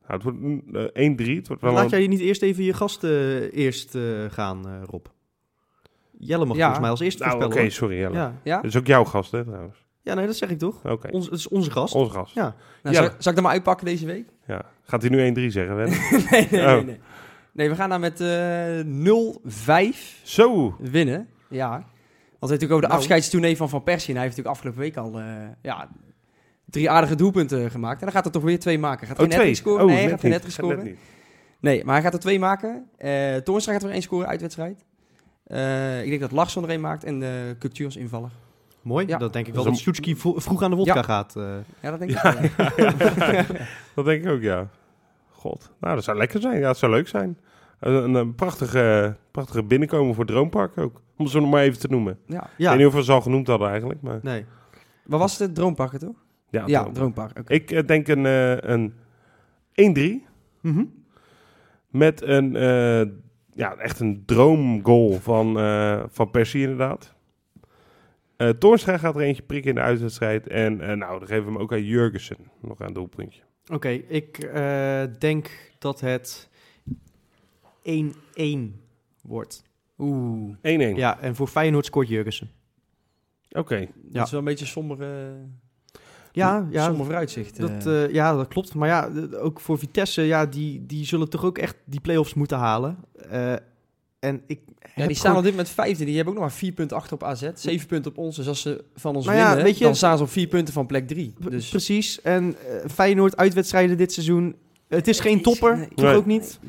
Speaker 1: nou, het wordt een, eh, 1-3. Het wordt wel
Speaker 2: Laat
Speaker 1: een-
Speaker 2: jij niet eerst even je gasten eerst eh, gaan, eh, Rob? Jelle mag
Speaker 3: Ja.
Speaker 2: volgens mij als eerste
Speaker 1: Nou, oké,
Speaker 2: voorspellen. hoor.
Speaker 1: sorry. Jelle.
Speaker 2: Ja.
Speaker 3: ja?
Speaker 1: Dat is ook jouw gast, hè, trouwens.
Speaker 2: ja, nee, dat zeg ik toch?
Speaker 1: Oké,
Speaker 2: Ons, het is onze gast.
Speaker 1: ons gast.
Speaker 2: Ja.
Speaker 3: Nou,
Speaker 1: Ja.
Speaker 3: zal, zal ik dat maar uitpakken deze week?
Speaker 1: Ja. Gaat hij nu 1-3 zeggen, Wendy?
Speaker 3: nee, nee,
Speaker 1: Oh.
Speaker 3: nee, nee. Nee, we gaan daar met eh 0-5
Speaker 1: Zo!
Speaker 3: winnen. Ja. Want we hebben natuurlijk over de
Speaker 2: Nou.
Speaker 3: afscheidstournee van Van Persie. En hij heeft natuurlijk afgelopen week al eh, ja, drie aardige doelpunten gemaakt. En dan gaat er toch weer twee maken. Gaat
Speaker 1: Oh,
Speaker 3: hij net
Speaker 1: twee.
Speaker 3: hattrick scoren? nee, hij
Speaker 1: net
Speaker 3: gaat
Speaker 1: niet.
Speaker 3: geen hattrick
Speaker 1: Gaat net
Speaker 3: scoren.
Speaker 1: niet.
Speaker 3: Nee, maar hij gaat er twee maken. Eh Toornstra gaat er weer één scoren, uitwedstrijd. Eh ik denk dat Larsson er één maakt en eh Cultuur als invaller.
Speaker 2: Mooi,
Speaker 3: Ja.
Speaker 2: dan denk ik
Speaker 1: Dat
Speaker 2: wel
Speaker 1: is
Speaker 2: dat
Speaker 1: een-
Speaker 2: Sjoetski vo- vroeg aan de wodka
Speaker 3: Ja.
Speaker 2: gaat. eh.
Speaker 3: Ja, dat denk ik wel, ja.
Speaker 1: Dat denk ik ook, ja. God. Nou, dat zou lekker zijn. Ja, het zou leuk zijn. Een, een, een prachtige, prachtige binnenkomen voor Droompark ook. Om ze nog maar even te noemen.
Speaker 3: Ja.
Speaker 1: Ik
Speaker 2: Ja,
Speaker 1: weet niet of we ze al genoemd hadden eigenlijk, maar...
Speaker 2: nee.
Speaker 3: Wat was het? Droomparken, toch?
Speaker 1: Ja,
Speaker 3: ja,
Speaker 1: Droompark.
Speaker 3: Droompark. oké.
Speaker 1: Ik eh, denk een, eh, een 1-3
Speaker 3: Mhm.
Speaker 1: met een, eh, ja, echt een droomgoal van, eh, van Persie inderdaad. Eh Toornstra gaat er eentje prikken in de uitwedstrijd. En eh, nou, dan geven we hem ook aan Jurgensen. Nog aan doelpuntje.
Speaker 2: Oké, ik eh, denk dat het 1-1 wordt.
Speaker 3: Oeh,
Speaker 1: 1-1.
Speaker 2: Ja, en voor Feyenoord scoort Jurgensen.
Speaker 1: Oké.
Speaker 3: dat is wel een beetje somber, eh
Speaker 2: Ja, ja,
Speaker 3: somber vooruitzicht. eh.
Speaker 2: dat, eh, ja, dat klopt. Maar ja, d- ook voor Vitesse, ja, die, die zullen toch ook echt die play-offs moeten halen. Eh, en ik
Speaker 3: ja,
Speaker 2: heb
Speaker 3: die staan
Speaker 2: gewoon-
Speaker 3: op dit moment vijfde. Die hebben ook nog maar vier punten achter op AZ. Zeven punten op ons. Dus als ze van ons
Speaker 2: Nou ja,
Speaker 3: winnen,
Speaker 2: weet je-
Speaker 3: dan staan ze op vier punten van plek drie.
Speaker 2: P-
Speaker 3: Dus
Speaker 2: Precies. En eh, Feyenoord uitwedstrijden dit seizoen. Het is geen topper,
Speaker 3: Nee.
Speaker 2: toch
Speaker 1: Nee.
Speaker 2: ook niet?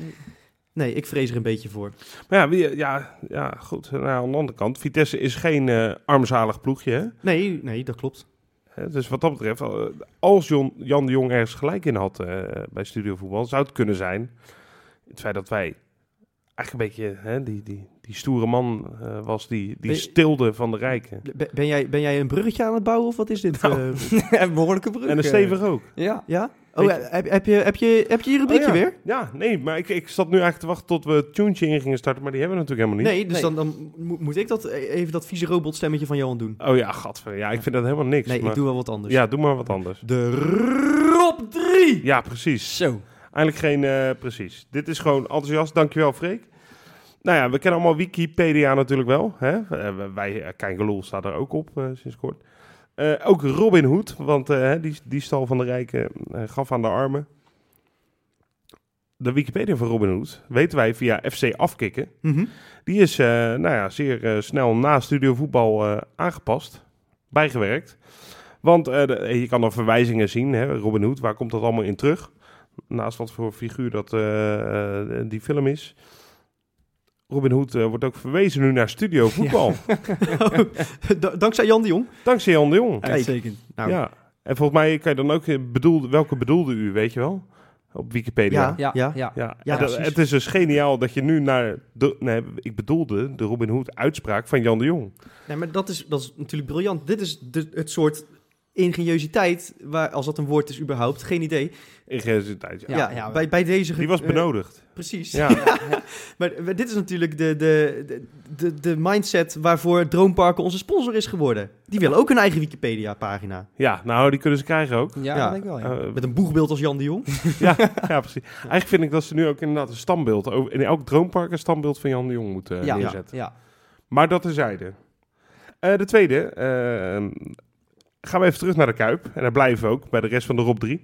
Speaker 2: Nee, ik vrees er een beetje voor.
Speaker 1: Maar ja, wie, ja, ja, goed. Nou, aan de andere kant, Vitesse is geen eh, armzalig ploegje. Hè?
Speaker 2: Nee, nee, dat klopt.
Speaker 1: Hè, Dus wat dat betreft, eh, als Jon- Jan de Jong ergens gelijk in had eh, bij Studio Voetbal, zou het kunnen zijn. Het feit dat wij eigenlijk een beetje hè, die, die, die stoere man eh, was die, die
Speaker 2: Nee.
Speaker 1: stilde van de rijken.
Speaker 2: Be- Ben jij, ben jij een bruggetje aan het bouwen of wat is dit?
Speaker 1: Nou.
Speaker 2: eh?
Speaker 3: een behoorlijke brug.
Speaker 1: En een
Speaker 3: eh.
Speaker 1: stevig ook.
Speaker 3: Ja.
Speaker 2: ja?
Speaker 1: Weet
Speaker 2: Oh,
Speaker 1: je-
Speaker 2: heb, heb, je, heb, je, heb je je rubriekje
Speaker 1: Oh ja.
Speaker 2: weer?
Speaker 1: Ja, nee, maar ik, ik zat nu eigenlijk te wachten tot we het tuntje in gingen starten, maar die hebben we natuurlijk helemaal
Speaker 2: Nee, dus
Speaker 3: Nee.
Speaker 2: Dan, dan mo- moet ik dat, eh, even dat vieze robotstemmetje van Johan doen.
Speaker 1: niet. Oh ja, gadver. Ja, ik vind dat helemaal niks.
Speaker 2: Nee,
Speaker 1: maar-
Speaker 2: ik doe wel wat anders.
Speaker 1: Ja, doe maar wat anders.
Speaker 2: De Rob 3!
Speaker 1: Ja, precies.
Speaker 3: Zo.
Speaker 1: Eigenlijk geen, eh, precies. Dit is gewoon enthousiast. Dankjewel, Freek. Nou ja, we kennen allemaal Wikipedia natuurlijk wel. Hè? Eh, we- wij, eh, Kein Geloel staat er ook op eh, sinds kort. Eh, ook Robin Hood, want eh, hè, die, die stal van de rijken eh, gaf aan de armen. De Wikipedia van Robin Hood weten wij via FC Afkikken.
Speaker 2: Mhm.
Speaker 1: Die is eh, nou ja, zeer eh, snel na studio voetbal eh, aangepast, bijgewerkt. Want eh, de- je kan dan verwijzingen zien, hè, Robin Hood, waar komt dat allemaal in terug? Naast wat voor figuur dat eh, eh, die film is. Robin Hood eh, wordt ook verwezen nu naar studio voetbal.
Speaker 2: Oh, Da- Dankzij Jan de Jong.
Speaker 1: Dankzij Jan de Jong.
Speaker 2: Kijk.
Speaker 3: Uitstekend.
Speaker 2: Nou.
Speaker 1: Ja. En volgens mij kan je dan ook eh, bedoelde, welke bedoelde u, weet je wel? Op Wikipedia.
Speaker 2: Ja.
Speaker 3: Ja, ja. ja.
Speaker 1: Ja,
Speaker 2: Ja,
Speaker 1: en dat-
Speaker 2: precies.
Speaker 1: het is dus geniaal dat je nu naar... De, nee, ik bedoelde de Robin Hood uitspraak van Jan de Jong.
Speaker 2: Nee, maar dat is, dat is natuurlijk briljant. Dit is de- het soort ingeniositeit, waar, als dat een woord is überhaupt, geen idee.
Speaker 1: In geen tijd, ja.
Speaker 2: Ja,
Speaker 3: ja.
Speaker 2: bij, bij deze... ge-
Speaker 1: Die was
Speaker 2: eh,
Speaker 1: benodigd.
Speaker 2: precies.
Speaker 1: Ja,
Speaker 2: Maar eh, dit is natuurlijk de, de, de- de, de mindset waarvoor Droomparken onze sponsor is geworden. Die willen ook hun eigen Wikipedia-pagina.
Speaker 1: ja nou, die kunnen ze krijgen ook.
Speaker 2: Ja.
Speaker 3: dat denk ik wel. Oh, Ja.
Speaker 1: Eh,
Speaker 2: Met een boegbeeld als Jan de Jong.
Speaker 1: ja, ja, precies. Eigenlijk vind ik dat ze nu ook inderdaad een standbeeld, ook- in elk droompark een standbeeld van Jan de Jong moeten eh,
Speaker 3: Ja.
Speaker 1: neerzetten.
Speaker 3: Ja.
Speaker 1: Maar dat terzijde. Eh de tweede, eh, gaan we even terug naar de Kuip. En daar blijven we ook, bij de rest van de Rob 3.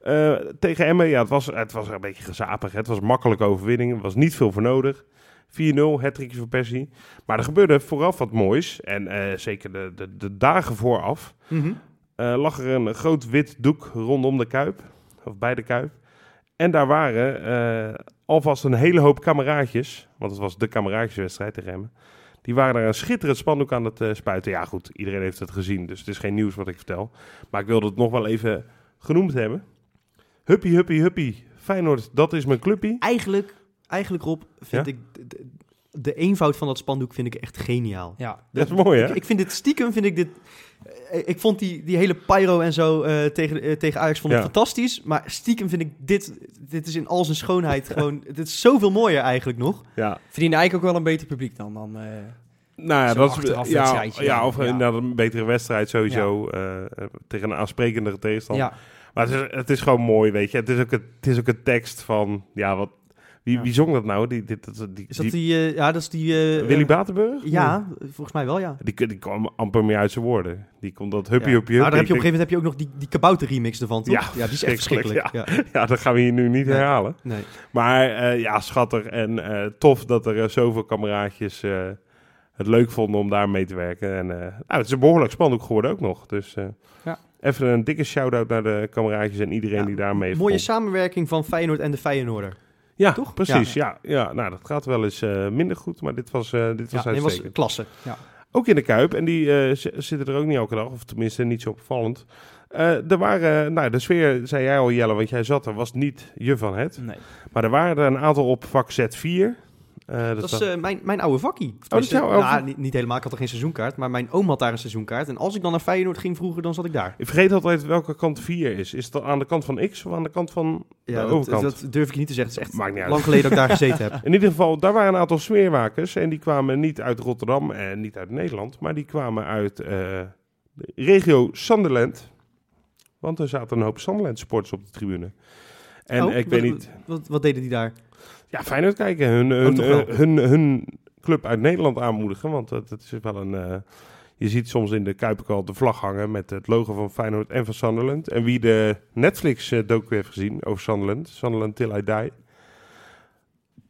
Speaker 1: Eh, tegen Emmen, ja, het was, het was een beetje gezapig. hè. Het was een makkelijke overwinning, er was niet veel voor nodig. 4-0, het trickje voor Persie. Maar er gebeurde vooraf wat moois. En eh, zeker de, de, de dagen vooraf.
Speaker 2: Mhm.
Speaker 1: eh, lag er een groot wit doek rondom de Kuip, of bij de Kuip. En daar waren eh, alvast een hele hoop kameraadjes, want het was de kameraadjeswedstrijd tegen Emmen. Die waren daar een schitterend spandoek aan het eh, spuiten. Ja goed, iedereen heeft het gezien, dus het is geen nieuws wat ik vertel. Maar ik wilde het nog wel even genoemd hebben. Huppie, huppie, huppie. Feyenoord, dat is mijn clubpie.
Speaker 2: Eigenlijk, eigenlijk Rob, vind
Speaker 1: Ja?
Speaker 2: ik de- de, de eenvoud van dat spandoek vind ik echt geniaal.
Speaker 3: Ja.
Speaker 1: Dat is mooi, hè?
Speaker 2: Ik, ik vind dit stiekem, vind ik dit... eh, Ik vond die, die hele pyro en zo eh, tegen, eh, tegen Ajax vond ik
Speaker 1: Ja.
Speaker 2: fantastisch. Maar stiekem vind ik dit... Dit is in al zijn schoonheid gewoon... Dit is zoveel mooier eigenlijk nog.
Speaker 1: Ja.
Speaker 3: Verdienen eigenlijk ook wel een beter publiek dan. dan eh,
Speaker 1: Nou ja,
Speaker 3: Zo'n
Speaker 1: dat is, ja,
Speaker 3: achterafwedstrijdje.
Speaker 1: ja, of
Speaker 3: Ja.
Speaker 1: inderdaad een betere wedstrijd sowieso. eh, eh, tegen een aansprekendere tegenstander.
Speaker 3: ja.
Speaker 1: Maar het is, het is gewoon mooi, weet je. Het is ook een, het is ook een tekst van, ja, wat, wie,
Speaker 2: Ja.
Speaker 1: wie zong dat nou? Die, dit- dat- die,
Speaker 2: Is dat
Speaker 1: die-
Speaker 2: die... eh, ja, dat is die... eh,
Speaker 1: Willy
Speaker 2: eh,
Speaker 1: Batenburg?
Speaker 2: Ja, volgens mij wel, ja.
Speaker 1: Die, die kwam amper meer uit zijn woorden. Die kon dat huppie,
Speaker 2: Ja.
Speaker 1: huppie,
Speaker 2: Maar daar heb
Speaker 1: huppie.
Speaker 2: je op een gegeven moment heb je ook nog die, die kabouter remix ervan, toch?
Speaker 1: Ja,
Speaker 2: die is echt verschrikkelijk.
Speaker 1: verschrikkelijk,
Speaker 2: Ja.
Speaker 1: Ik denk, ja, dat gaan we hier nu niet
Speaker 2: Nee.
Speaker 1: herhalen.
Speaker 2: Nee.
Speaker 1: Maar eh, ja, schattig en eh, tof dat er eh, zoveel kameraadjes eh, het leuk vonden om daar mee te werken. En eh, nou, het is een behoorlijk spannend geworden ook nog. Dus eh,
Speaker 3: Ja.
Speaker 1: even een dikke shout-out naar de kameraadjes en iedereen
Speaker 2: Ja,
Speaker 1: die daar mee heeft
Speaker 2: Mooie
Speaker 1: geholpen.
Speaker 2: samenwerking van Feyenoord en de Feyenoorder.
Speaker 1: Ja,
Speaker 2: Toch?
Speaker 1: precies. Ja. Ja, nou, dat gaat wel eens eh, minder goed, maar dit was, eh dit was
Speaker 2: Ja, dat was
Speaker 1: uitstekend.
Speaker 2: klasse.
Speaker 1: Ook in de Kuip, en die eh, z- zitten er ook niet elke dag, of tenminste niet zo opvallend. Eh, er waren, nou, de sfeer, zei jij al
Speaker 3: Nou,
Speaker 1: Jelle, want jij zat er, was niet je van het.
Speaker 3: Nee.
Speaker 1: Maar er waren er een aantal op vak Z4. Eh,
Speaker 2: Dat,
Speaker 1: was-
Speaker 2: is eh, mijn, mijn oude vakkie.
Speaker 1: Oh, dat is jouw oude
Speaker 2: Nou,
Speaker 1: vakkie.
Speaker 2: niet, niet helemaal, ik had er geen seizoenkaart, maar mijn oom had daar een seizoenkaart. En als ik dan naar Feyenoord ging vroeger, dan zat ik daar.
Speaker 1: Ik vergeet altijd welke kant 4 is. Is dat aan de kant van X of aan de kant van de
Speaker 2: Ja, dat,
Speaker 1: overkant?
Speaker 2: dat durf ik je niet te zeggen. Het is echt
Speaker 1: Maakt niet uit.
Speaker 2: lang geleden dat ik daar gezeten heb.
Speaker 1: In ieder geval, daar waren een aantal smeerwakers. En die kwamen niet uit Rotterdam en niet uit Nederland. Maar die kwamen uit eh, de regio Sunderland. Want er zaten een hoop Sunderland-sporters op de tribune. En
Speaker 2: Oh,
Speaker 1: ik
Speaker 2: wat-
Speaker 1: weet niet...
Speaker 2: Wat, wat deden die daar?
Speaker 1: Ja, Feyenoord kijken. Hun, hun,
Speaker 2: Oh, toch wel.
Speaker 1: eh, hun, hun club uit Nederland aanmoedigen. Want dat, dat is wel een... eh, je ziet soms in de Kuip al de vlag hangen met het logo van Feyenoord en van Sunderland. En wie de Netflix-docu heeft gezien over Sunderland, Sunderland Till I Die...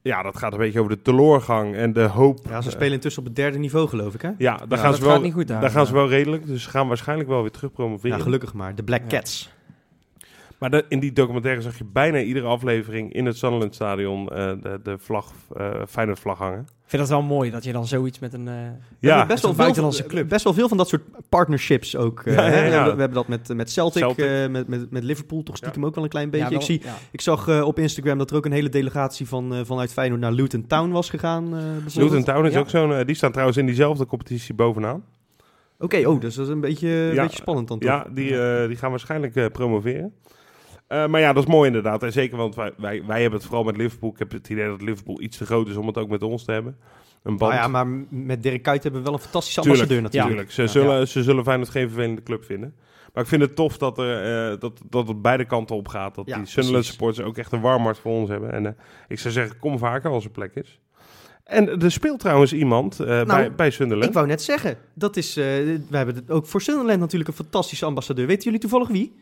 Speaker 1: Ja, dat gaat een beetje over de teleurgang en de hoop.
Speaker 2: Ja, ze
Speaker 1: eh,
Speaker 2: spelen intussen op het derde niveau, geloof ik, hè?
Speaker 1: Ja, daar,
Speaker 3: Ja,
Speaker 1: gaan,
Speaker 3: dat
Speaker 1: ze wel,
Speaker 3: gaat niet goed daar. eh.
Speaker 1: daar gaan ze
Speaker 3: Ja.
Speaker 1: wel redelijk. Dus ze gaan waarschijnlijk wel weer terug
Speaker 2: Ja,
Speaker 1: promoveren.
Speaker 2: gelukkig maar. De Black
Speaker 3: Ja.
Speaker 2: Cats.
Speaker 1: maar dat- in die documentaire zag je bijna iedere aflevering in het Sunderland Stadion eh, de, de vlag, eh Feyenoord vlag hangen.
Speaker 3: Ik vind dat wel mooi dat je dan zoiets met een... eh,
Speaker 1: Ja,
Speaker 2: We hebben best
Speaker 3: het
Speaker 2: wel,
Speaker 3: is
Speaker 2: veel
Speaker 3: een
Speaker 2: van,
Speaker 3: buitenlandse club.
Speaker 2: best wel veel van dat soort partnerships ook. eh,
Speaker 1: Ja, ja,
Speaker 2: hè?
Speaker 1: ja.
Speaker 2: We, we hebben dat met, met Celtic,
Speaker 1: Celtic.
Speaker 2: eh, met, met, met Liverpool toch stiekem ook wel een klein beetje.
Speaker 3: ja, wel-
Speaker 2: ik, zie,
Speaker 3: ja.
Speaker 2: ik zag eh, op Instagram dat er ook een hele delegatie van, eh, vanuit Feyenoord naar Luton Town was gegaan. eh, bijvoorbeeld.
Speaker 1: Luton Town is
Speaker 2: Ja.
Speaker 1: ook zo'n... eh, die staan trouwens in diezelfde competitie bovenaan.
Speaker 2: Oké, oh, dus dat is een beetje, een
Speaker 1: Ja,
Speaker 2: beetje spannend dan toch?
Speaker 1: Ja, die, eh, die gaan waarschijnlijk eh, promoveren. Eh, maar ja, dat is mooi inderdaad. En zeker, want wij, wij, wij hebben het vooral met Liverpool. Ik heb het idee dat Liverpool iets te groot is om het ook met ons te hebben. Een band.
Speaker 2: Nou ja, maar m- met Dirk Kuyt hebben we wel een fantastische
Speaker 1: Tuurlijk,
Speaker 2: ambassadeur natuurlijk.
Speaker 1: Tuurlijk, ze zullen, ze zullen Feyenoord geen vervelende club vinden. Maar ik vind het tof dat, er, eh, dat, dat het beide kanten op gaat. Dat
Speaker 2: Ja,
Speaker 1: die Sunderland
Speaker 2: precies.
Speaker 1: supporters ook echt een warm hart voor ons hebben. En eh, ik zou zeggen, kom vaker als er plek is. En eh, er speelt trouwens iemand eh, bij, bij Sunderland.
Speaker 2: Nou, Ik wou net zeggen, dat is, eh, we hebben het ook voor Sunderland natuurlijk een fantastische ambassadeur. Weten jullie toevallig wie?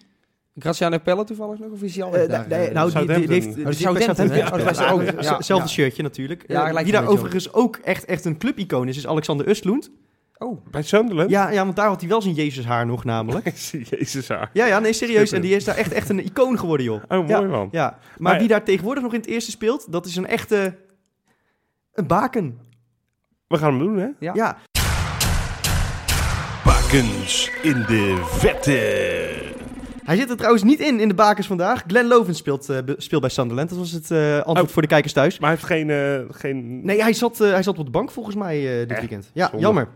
Speaker 3: Graziano Pelle toevallig nog? Of is hij al
Speaker 2: Eh,
Speaker 3: weg
Speaker 2: nee,
Speaker 3: daar,
Speaker 2: nee,
Speaker 3: eh?
Speaker 2: nou, die, die- die heeft...
Speaker 1: Southampton.
Speaker 2: die
Speaker 3: Oh,
Speaker 2: zit bij
Speaker 3: Southampton,
Speaker 2: Southampton,
Speaker 3: hè?
Speaker 2: ja.
Speaker 3: Oh, dat was er ook.
Speaker 2: Ja,
Speaker 3: Ja,
Speaker 2: Zelfde
Speaker 3: ja.
Speaker 2: shirtje natuurlijk.
Speaker 3: Ja,
Speaker 2: Eh,
Speaker 3: hij lijkt
Speaker 2: Wie
Speaker 3: een
Speaker 2: daar
Speaker 3: beetje
Speaker 2: overigens ook echt, echt een clubicoon is, is Alexander Östlund.
Speaker 3: Oh,
Speaker 1: Bij Sunderland?
Speaker 2: Ja, ja, want daar had hij wel zijn Jezushaar nog namelijk.
Speaker 1: Ik zie Jezus haar.
Speaker 2: Ja, ja, nee, serieus. En
Speaker 1: Schitterend.
Speaker 2: die is daar echt, echt een icoon geworden, joh.
Speaker 1: Oh, mooi
Speaker 2: Ja,
Speaker 1: man.
Speaker 2: Ja, maar,
Speaker 1: Maar-
Speaker 2: wie daar tegenwoordig nog in het eerste speelt, dat is een echte... Een baken.
Speaker 1: We gaan hem doen, hè?
Speaker 3: Ja.
Speaker 2: ja.
Speaker 1: Bakens in de vette.
Speaker 2: Hij zit er trouwens niet in, in de bakens vandaag. Glenn Lovens speelt, eh, be- speelt bij Sunderland. Dat was het eh, antwoord
Speaker 1: Oh.
Speaker 2: voor de kijkers thuis.
Speaker 1: Maar hij heeft geen... eh, geen...
Speaker 2: Nee, hij zat, eh, hij zat op de bank volgens mij eh, dit
Speaker 1: Eh,
Speaker 2: weekend. Ja,
Speaker 1: zonde.
Speaker 2: jammer.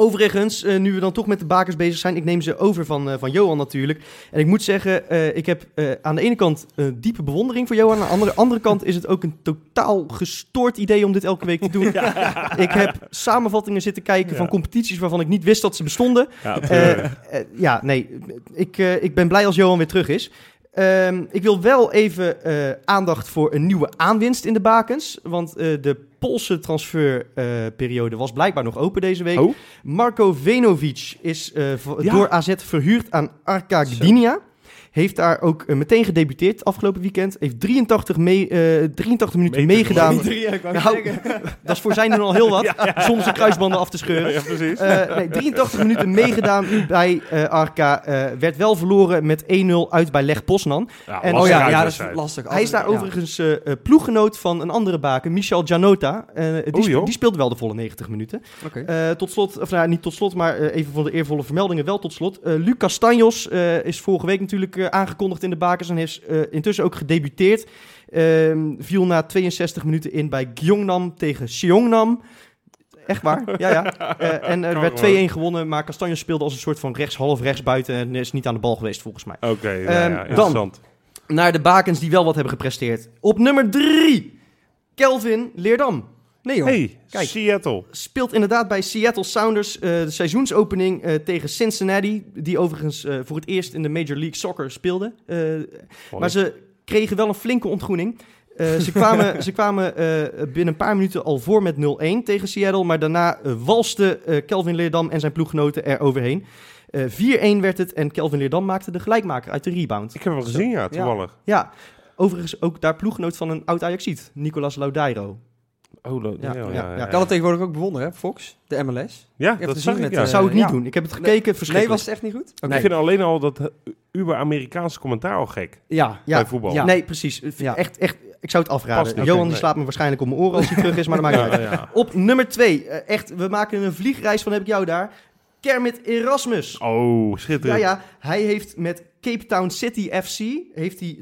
Speaker 2: Overigens, eh, nu we dan toch met de bakers bezig zijn, ik neem ze over van, eh, van Johan natuurlijk. En ik moet zeggen, eh, ik heb eh, aan de ene kant eh, diepe bewondering voor Johan. Aan de andere, andere kant is het ook een totaal gestoord idee om dit elke week te doen. Ik heb samenvattingen zitten kijken van
Speaker 1: Ja.
Speaker 2: competities waarvan ik niet wist dat ze bestonden.
Speaker 1: Ja,
Speaker 2: Eh,
Speaker 1: tuurlijk.
Speaker 2: eh, ja, nee. Ik, eh, ik ben blij als Johan weer terug is. Ehm, ik wil wel even eh, aandacht voor een nieuwe aanwinst in de bakens. Want eh, de Poolse transferperiode eh, was blijkbaar nog open deze week.
Speaker 1: Oh.
Speaker 2: Marco Venovic is eh, v-
Speaker 1: Ja.
Speaker 2: door AZ verhuurd aan Arca Gdynia. Heeft daar ook eh, meteen gedebuteerd afgelopen weekend. Heeft 83, mee, eh, 83 minuten
Speaker 1: Meter
Speaker 2: meegedaan.
Speaker 1: gelopen.
Speaker 2: Nou, dat is voor zijn doen al heel wat. Soms de kruisbanden af te scheuren.
Speaker 1: ja, ja, precies.
Speaker 2: Eh, nee, 83 minuten meegedaan bij eh Arca. Eh, werd wel verloren met 1-0 uit bij Leg Poznan.
Speaker 1: Ja,
Speaker 2: en-
Speaker 1: lastige
Speaker 3: oh ja, ja, dat is
Speaker 1: uitwedstrijd.
Speaker 3: lastig.
Speaker 2: Hij is daar
Speaker 3: Ja.
Speaker 2: overigens eh, eh, ploeggenoot van een andere baken, Michel Gianota. Eh, die,
Speaker 1: Oei,
Speaker 2: spe-
Speaker 1: joh.
Speaker 2: die speelde wel de volle 90 minuten.
Speaker 3: Oké.
Speaker 2: Eh, tot slot, of nou, niet tot slot, maar eh, even voor de eervolle vermeldingen wel tot slot. Eh Luc Castanjos eh, is vorige week natuurlijk eh, aangekondigd in de bakens en is eh, intussen ook gedebuteerd. Ehm, viel na 62 minuten in bij Gyeongnam tegen Seongnam. Echt waar, ja ja. Eh, en er
Speaker 1: Kan
Speaker 2: werd 2-1
Speaker 1: gewoon.
Speaker 2: gewonnen, maar Castanjos speelde als een soort van rechts-half rechts buiten en is niet aan de bal geweest volgens mij.
Speaker 1: Oké, nou ja,
Speaker 2: Ehm, dan.
Speaker 1: interessant.
Speaker 2: Naar de bakens die wel wat hebben gepresteerd. Op nummer 3, Kelvin Leerdam.
Speaker 3: Nee joh.
Speaker 1: Hey,
Speaker 2: Kijk.
Speaker 1: Seattle. Oh,
Speaker 2: speelt inderdaad bij Seattle Sounders eh, de seizoensopening eh, tegen Cincinnati. Die overigens eh, voor het eerst in de Major League Soccer speelde. Eh, maar ze kregen wel een flinke ontgroening. Eh, ze kwamen, ze kwamen eh, binnen een paar minuten al voor met 0-1 tegen Seattle. Maar daarna eh, walste eh, Kelvin Leerdam en zijn ploeggenoten er overheen. Eh, 4-1 werd het en Kelvin Leerdam maakte de gelijkmaker uit de rebound.
Speaker 1: Ik heb hem gezien, ja, toevallig.
Speaker 2: Ja, overigens ook daar ploeggenoot van een oud Ajaxiet, Nicolas Laudairo.
Speaker 1: Oh, dat,
Speaker 2: Ja,
Speaker 1: ja,
Speaker 2: ja,
Speaker 1: ja,
Speaker 2: ja.
Speaker 1: ja,
Speaker 3: Ik kan het tegenwoordig ook bewonderen, hè? Fox, de MLS.
Speaker 1: Ja,
Speaker 3: heb
Speaker 1: dat
Speaker 3: gezien
Speaker 1: zag
Speaker 3: met,
Speaker 1: ik,
Speaker 3: eh,
Speaker 1: ja.
Speaker 2: Zou ik niet
Speaker 3: ja.
Speaker 2: doen. Ik heb het gekeken,
Speaker 3: Nee,
Speaker 2: verschrikkelijk.
Speaker 3: was het echt niet goed? Oké.
Speaker 1: Ik vind alleen al dat eh, uber Amerikaanse commentaar al gek.
Speaker 3: Ja.
Speaker 2: Ja,
Speaker 1: bij voetbal.
Speaker 3: ja.
Speaker 2: Nee, precies.
Speaker 3: Ja.
Speaker 2: Echt, echt, ik zou het afraden.
Speaker 1: Past niet.
Speaker 2: Johan
Speaker 1: Oké,
Speaker 2: die
Speaker 1: nee.
Speaker 2: slaat me waarschijnlijk op mijn oren als hij terug is, maar dat maakt niet
Speaker 1: Ja,
Speaker 2: uit.
Speaker 1: ja.
Speaker 2: Op nummer twee, eh, echt, we maken een vliegreis van heb ik jou daar. Kermit Erasmus.
Speaker 1: Oh,
Speaker 2: Ja,
Speaker 1: schitterend.
Speaker 2: ja, hij heeft met Cape Town City FC heeft hij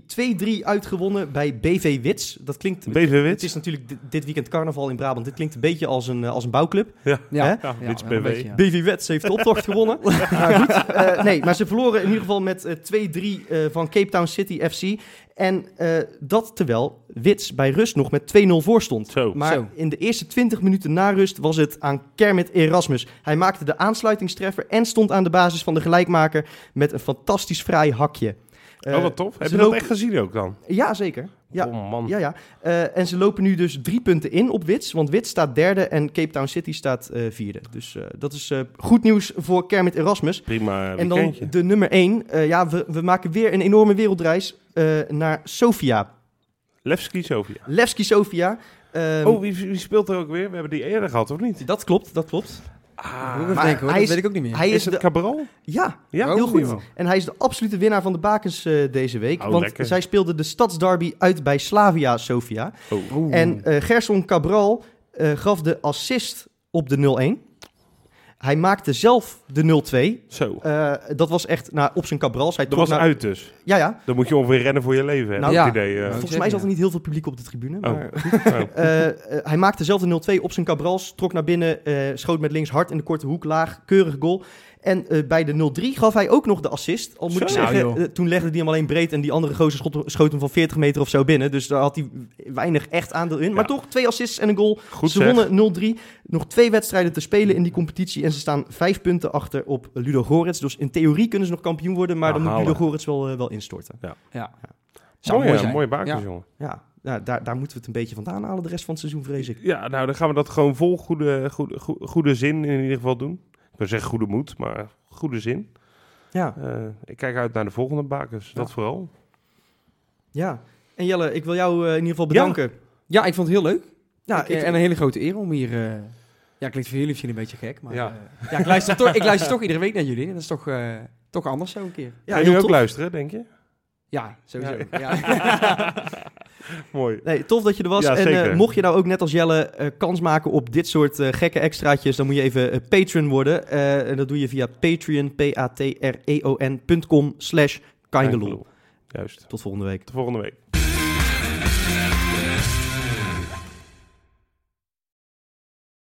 Speaker 2: 2-3 uitgewonnen bij BV Wits. Dat klinkt...
Speaker 1: BV
Speaker 2: Het
Speaker 1: Wit.
Speaker 2: is natuurlijk di- dit weekend carnaval in Brabant. Dit klinkt een beetje als een, eh, als een bouwclub. Hè?
Speaker 1: Ja, Wits
Speaker 3: wel een
Speaker 1: BV.
Speaker 3: beetje, ja.
Speaker 2: BV Wets heeft de optocht gewonnen. Maar goed, eh, nee, maar ze verloren in ieder geval met eh, 2-3 eh, van Cape Town City FC. En eh, dat terwijl Wits bij rust nog met 2-0 voor stond.
Speaker 1: Zo.
Speaker 2: Maar
Speaker 3: Zo.
Speaker 2: in de eerste 20 minuten na rust was het aan Kermit Erasmus. Hij maakte de aansluitingstreffer en stond aan de basis van de gelijkmaker met een fantastisch fraai hakje. Eh,
Speaker 1: oh, wat tof. Heb
Speaker 2: ze
Speaker 1: je dat
Speaker 2: lopen-
Speaker 1: echt gezien ook dan?
Speaker 2: Ja, zeker. Ja,
Speaker 1: Oh, man.
Speaker 2: ja, ja. Eh, en ze lopen nu dus drie punten in op Wits. Want Wits staat derde en Cape Town City staat eh, vierde. Dus eh, dat is eh, goed nieuws voor Kermit Erasmus.
Speaker 1: Prima
Speaker 2: en dan
Speaker 1: weekendje.
Speaker 2: de nummer één. Eh, ja, we, we maken weer een enorme wereldreis eh, naar Sofia.
Speaker 1: Levski Sofia.
Speaker 2: Levski Sofia. Ehm,
Speaker 1: oh, wie, wie speelt er ook weer? We hebben die eerder gehad, of niet?
Speaker 2: Dat klopt, dat klopt.
Speaker 3: Moet ik even
Speaker 2: Ah, Maar
Speaker 3: denken, hoor.
Speaker 2: hij
Speaker 3: Dat
Speaker 2: is-
Speaker 3: weet ik ook niet meer.
Speaker 2: Hij
Speaker 1: Is,
Speaker 2: is,
Speaker 1: het
Speaker 2: de,
Speaker 1: Cabral?
Speaker 2: ja,
Speaker 1: Ja,
Speaker 2: heel
Speaker 1: Oh,
Speaker 2: goed.
Speaker 1: joh.
Speaker 2: En hij is de absolute winnaar van de bakens eh, deze week.
Speaker 1: Oh,
Speaker 2: want
Speaker 1: lekker.
Speaker 2: zij speelde de stadsderby uit bij Slavia Sofia.
Speaker 1: Oh.
Speaker 3: Oeh.
Speaker 2: En eh, Gerson Cabral eh, gaf de assist op de 0-1. Hij maakte zelf de 0-2.
Speaker 1: Zo.
Speaker 2: Eh, dat was echt nou, op zijn Cabrals. Hij
Speaker 1: Dat
Speaker 2: trok
Speaker 1: was
Speaker 2: naar-
Speaker 1: uit dus.
Speaker 2: Ja, ja.
Speaker 1: Dan moet je ongeveer rennen voor je leven, hè?
Speaker 2: Nou,
Speaker 1: dat
Speaker 3: ja.
Speaker 1: idee. eh.
Speaker 3: Ja.
Speaker 2: Volgens mij zat er niet heel veel publiek op de tribune.
Speaker 1: Oh.
Speaker 2: Maar,
Speaker 1: Oh.
Speaker 2: Eh, eh, hij maakte zelf de 0-2 op zijn Cabrals. Trok naar binnen. eh, schoot met links hard in de korte hoek. Laag. Keurig goal. En eh, bij de 0-3 gaf hij ook nog de assist. Al moet ik
Speaker 1: Zo.
Speaker 2: zeggen,
Speaker 3: Nou, joh.
Speaker 2: eh, toen legde hij hem alleen breed. En die andere gozer schot, schoot hem van 40 meter of zo binnen. Dus daar had hij weinig echt aandeel in. Maar
Speaker 1: Ja.
Speaker 2: toch, twee assists en een goal.
Speaker 1: Goed
Speaker 2: ze
Speaker 1: zeg.
Speaker 2: wonnen 0-3. Nog twee wedstrijden te spelen in die competitie. En ze staan vijf punten achter op Ludo Gorets. Dus in theorie kunnen ze nog kampioen worden. Maar
Speaker 1: Nou,
Speaker 2: dan moet
Speaker 1: halen.
Speaker 2: Ludo Gorets wel, eh, wel instorten.
Speaker 3: Ja. Zou
Speaker 1: Mooi,
Speaker 3: mooi
Speaker 1: mooi
Speaker 3: zijn.
Speaker 1: mooie bakens,
Speaker 3: Ja.
Speaker 1: jongen.
Speaker 2: Ja, nou, daar, daar moeten we het een beetje vandaan halen de rest van het seizoen, vrees ik.
Speaker 1: Ja, nou, dan gaan we dat gewoon vol goede, goede, goe- goede zin in ieder geval doen. Ik wil zeggen goede moed, maar goede zin.
Speaker 2: Ja,
Speaker 1: Eh, ik kijk uit naar de volgende bakens, dat vooral.
Speaker 2: ja. En Jelle, ik wil jou eh, in ieder geval bedanken.
Speaker 3: Ja, ik vond het heel leuk.
Speaker 2: Ja,
Speaker 3: Ik, eh,
Speaker 2: ik-
Speaker 3: en een hele grote eer om hier... eh, ja, klinkt voor jullie misschien een beetje gek, maar...
Speaker 1: Ja.
Speaker 3: Ja, ja ik, luister toch, ik luister toch iedere week naar jullie. En dat is toch, eh, toch anders zo een keer.
Speaker 1: Ja,
Speaker 2: heel
Speaker 1: Ga je nu ook
Speaker 2: tof.
Speaker 1: luisteren, denk je?
Speaker 3: Ja, sowieso.
Speaker 1: Ja.
Speaker 3: Ja.
Speaker 1: Mooi.
Speaker 2: Nee, tof dat je er was.
Speaker 1: Ja,
Speaker 2: en eh,
Speaker 1: zeker.
Speaker 2: mocht je nou ook net als Jelle eh, kans maken op dit soort eh, gekke extraatjes, dan moet je even eh, patron worden. Eh, en dat doe je via patreon, E p-a-t-r-e-o-n.com slash kindelol.
Speaker 1: Juist.
Speaker 2: Tot volgende week.
Speaker 1: Tot volgende week.